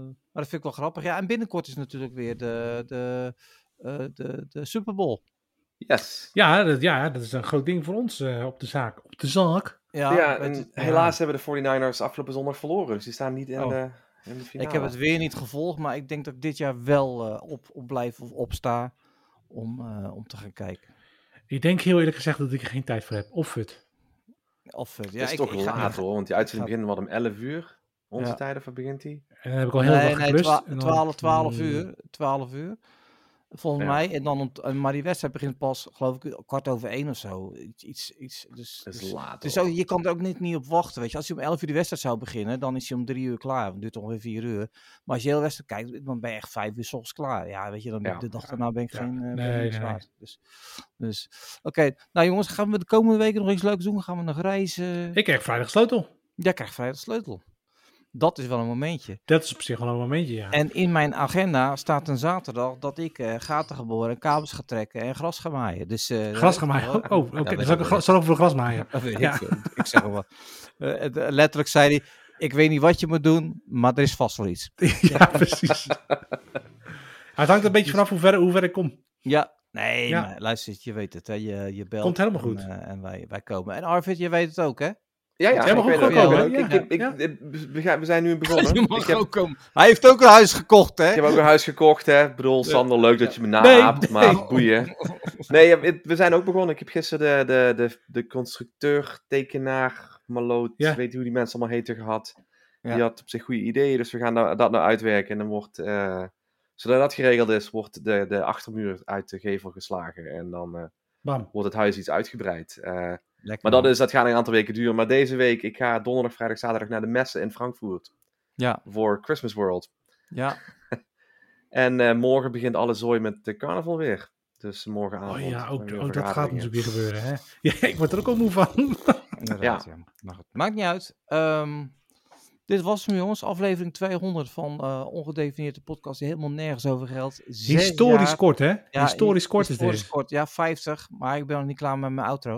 maar dat vind ik wel grappig. Ja, en binnenkort is natuurlijk weer de, de, eh, de, de Super Bowl. Yes. Ja dat, ja, dat is een groot ding voor ons eh, op de zaak. Op de zaak. Ja, Ja, het- en helaas hebben de 49ers afgelopen zondag verloren. Dus die staan niet in, Oh. de, in de finale. ik heb het weer niet gevolgd, maar ik denk dat ik dit jaar wel eh, op, op blijf of opsta om, eh, om te gaan kijken. Ik denk heel eerlijk gezegd dat ik er geen tijd voor heb. Of fut. Of, eh, ja, Het is ik- toch ik ga- laat hoor, want die uitzending ik begint wat om 11 uur. Onze Ja. tijd of waar begint die? En dan heb ik al heel Nee, erg nee, gerust. twa- en dan- 12, 12 Mm. uur. 12 uur. Volgens Ja. mij. En dan om, t- en maar die wedstrijd begint pas, geloof ik, kwart over één of zo. Iets, iets, iets, dus, Het is dus, laat dus hoor. zo- je kan er ook niet, niet op wachten. Weet je. Als je om 11 uur de wedstrijd zou beginnen, dan is hij om drie uur klaar. Het duurt ongeveer vier uur. Maar als je heel de wedstrijd kijkt, dan ben je echt vijf uur soms klaar. Ja, weet je, dan ben ik Ja. de dag daarna ben ik Ja. geen eh, ben ik Nee, niks nee, nee. waard. Dus, dus oké. Nou jongens, gaan we de komende weken nog iets leuks doen? Gaan we nog reizen? Ik krijg vrijdag sleutel. Jij krijgt vrijdag de sleutel. Dat is wel een momentje. Dat is op zich wel een momentje, ja. En in mijn agenda staat een zaterdag dat ik eh, gaten geboren, kabels ga trekken en gras ga maaien. Dus, eh, Gras gaan dat- maaien. Oh, oh, oké. Ja, dan weet zal ik wel. ik gra- zal ik voor gras maaien. *laughs* Dat weet ik Ja. veel. Ik zeg maar wat. Eh, het- eh, letterlijk zei hij, ik weet niet wat je moet doen, maar er is vast wel iets. ja, *laughs* precies. Het hangt een beetje vanaf hoe ver, hoe ver ik kom. Ja, nee, Ja. maar luister, je weet het. Hè. Je, je belt. Komt helemaal goed. En, eh, en wij, wij komen. En Arvid, je weet het ook, hè? Ja, ja, Jij mag ik ook weet gewoon het, komen, ik- hè? ik- ik- ik- we gaan- We zijn nu begonnen. ik, heb, komen. Hij heeft ook een huis gekocht, ik hè? heb ook een huis gekocht, hè. Ik bedoel, Sander, leuk dat je me naapt, Nee, maar nee. boeien. Nee, ja, het- we zijn ook begonnen. Ik heb gisteren de, de, de, de constructeur, tekenaar, maloot, Ja. weet je hoe die mensen allemaal heten, gehad. Ja. Die had op zich goede ideeën, dus we gaan da- dat nou uitwerken. En dan wordt, eh, zodat dat geregeld is, wordt de, de achtermuur uit de gevel geslagen. En dan eh, Bam. wordt het huis iets uitgebreid. Eh, Lekker, maar dat, man. is, dat gaat een aantal weken duren. Maar deze week, ik ga donderdag, vrijdag, zaterdag naar de messen in Frankfurt Ja, voor Christmas World. ja. En eh, morgen begint alle zooi met de carnaval weer. Dus morgenavond. Oh ja, hebben ook, we weer ook dat gaat vergaderingen. natuurlijk weer gebeuren, hè. *laughs* *laughs* Ja, ik word er ook al moe van. Inderdaad, ja. Maar goed, maakt niet uit. Ehm, Dit was hem, jongens. Aflevering 200 van eh Ongedefinieerde Podcast. Die helemaal nergens over geldt. Zes Historisch jaar- kort, hè? Ja, historisch kort is historisch dit. kort. Ja, 50. Maar ik ben nog niet klaar met mijn outro.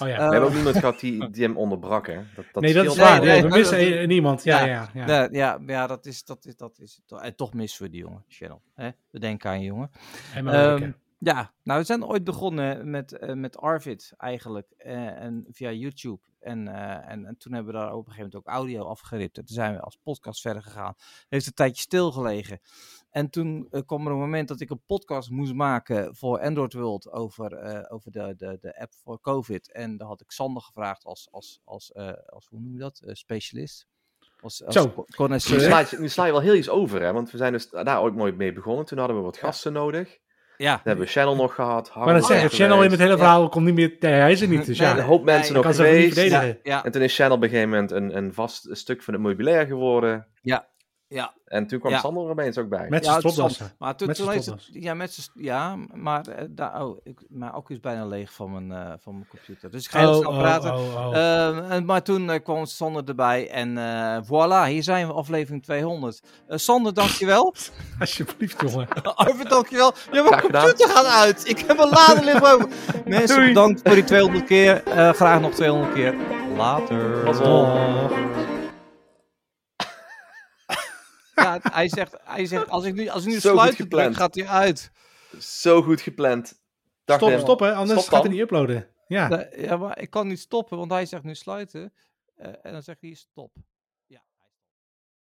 Oh, Eh, ja. We hebben ook niemand gehad die, die hem onderbrak, hè? Dat, dat nee, dat is scheelt waar. wel. nee, we maar missen dat- e- niemand. Ja, Ja. ja, ja. Ja, ja, ja dat is... Dat is, dat is en toch missen we die jongen, Channel. Hè? We denken aan je jongen. En maar Ehm, ja, nou we zijn ooit begonnen met, eh, met Arvid eigenlijk eh, en via YouTube. En, eh, en, en toen hebben we daar op een gegeven moment ook audio afgeript. En toen zijn we als podcast verder gegaan. Heeft een tijdje stilgelegen. En toen eh, kwam er een moment dat ik een podcast moest maken voor Android World over, eh, over de, de, de app voor COVID. En daar had ik Sander gevraagd als, als, als, eh, als hoe noem je dat, Eh, specialist. Als, als Zo. co- Nu connoisseur. sla, je, nu sla je wel heel iets over, hè? Want we zijn dus daar ooit nooit mee begonnen. Toen hadden we wat gasten nodig. Dan Ja, hebben we Channel nog gehad. maar dan Harm zeg nog het channel in geweest. het hele oh, Ja. verhaal komt niet meer. Nee, hij is er niet. Dus Nee, ja, Een hoop mensen Nee, kan nog ze ook niet geweest. verdedigen. ja, En toen is Channel op een gegeven moment een, een vast stuk van het meubilair geworden. Ja, ja. En toen kwam Ja. Sander er opeens ook bij. Met Ja, zijn het is stropdassen. Maar toen, Met toen z'n heeft het, stropdas. ja, met z'n st- ja, maar eh, daar, oh, ik, mijn accu is bijna leeg van mijn, eh, van mijn computer. Dus ik ga heel snel praten. oh, oh. Ehm, en, maar toen eh, kwam Sander erbij en eh, voilà, hier zijn we, aflevering 200. Eh, Sander, *laughs* dankjewel. Alsjeblieft, jongen. Arvid, dankjewel. Ja, mijn Graag gedaan. computer gaat uit. Ik heb een lader liggen boven. Mensen, Doei. bedankt voor die 200 keer. Eh, graag nog 200 keer. Later. Pas op. Oh. Ja, hij, zegt, hij zegt, als ik nu, als ik nu Zo goed sluit, dan gepland. gaat hij uit. Zo goed gepland. Dag, Stop, Tim. stop, hè? Anders gaat Stop dan. hij niet uploaden. Ja. Ja, maar ik kan niet stoppen, want hij zegt nu sluiten. Eh, en dan zegt hij stop.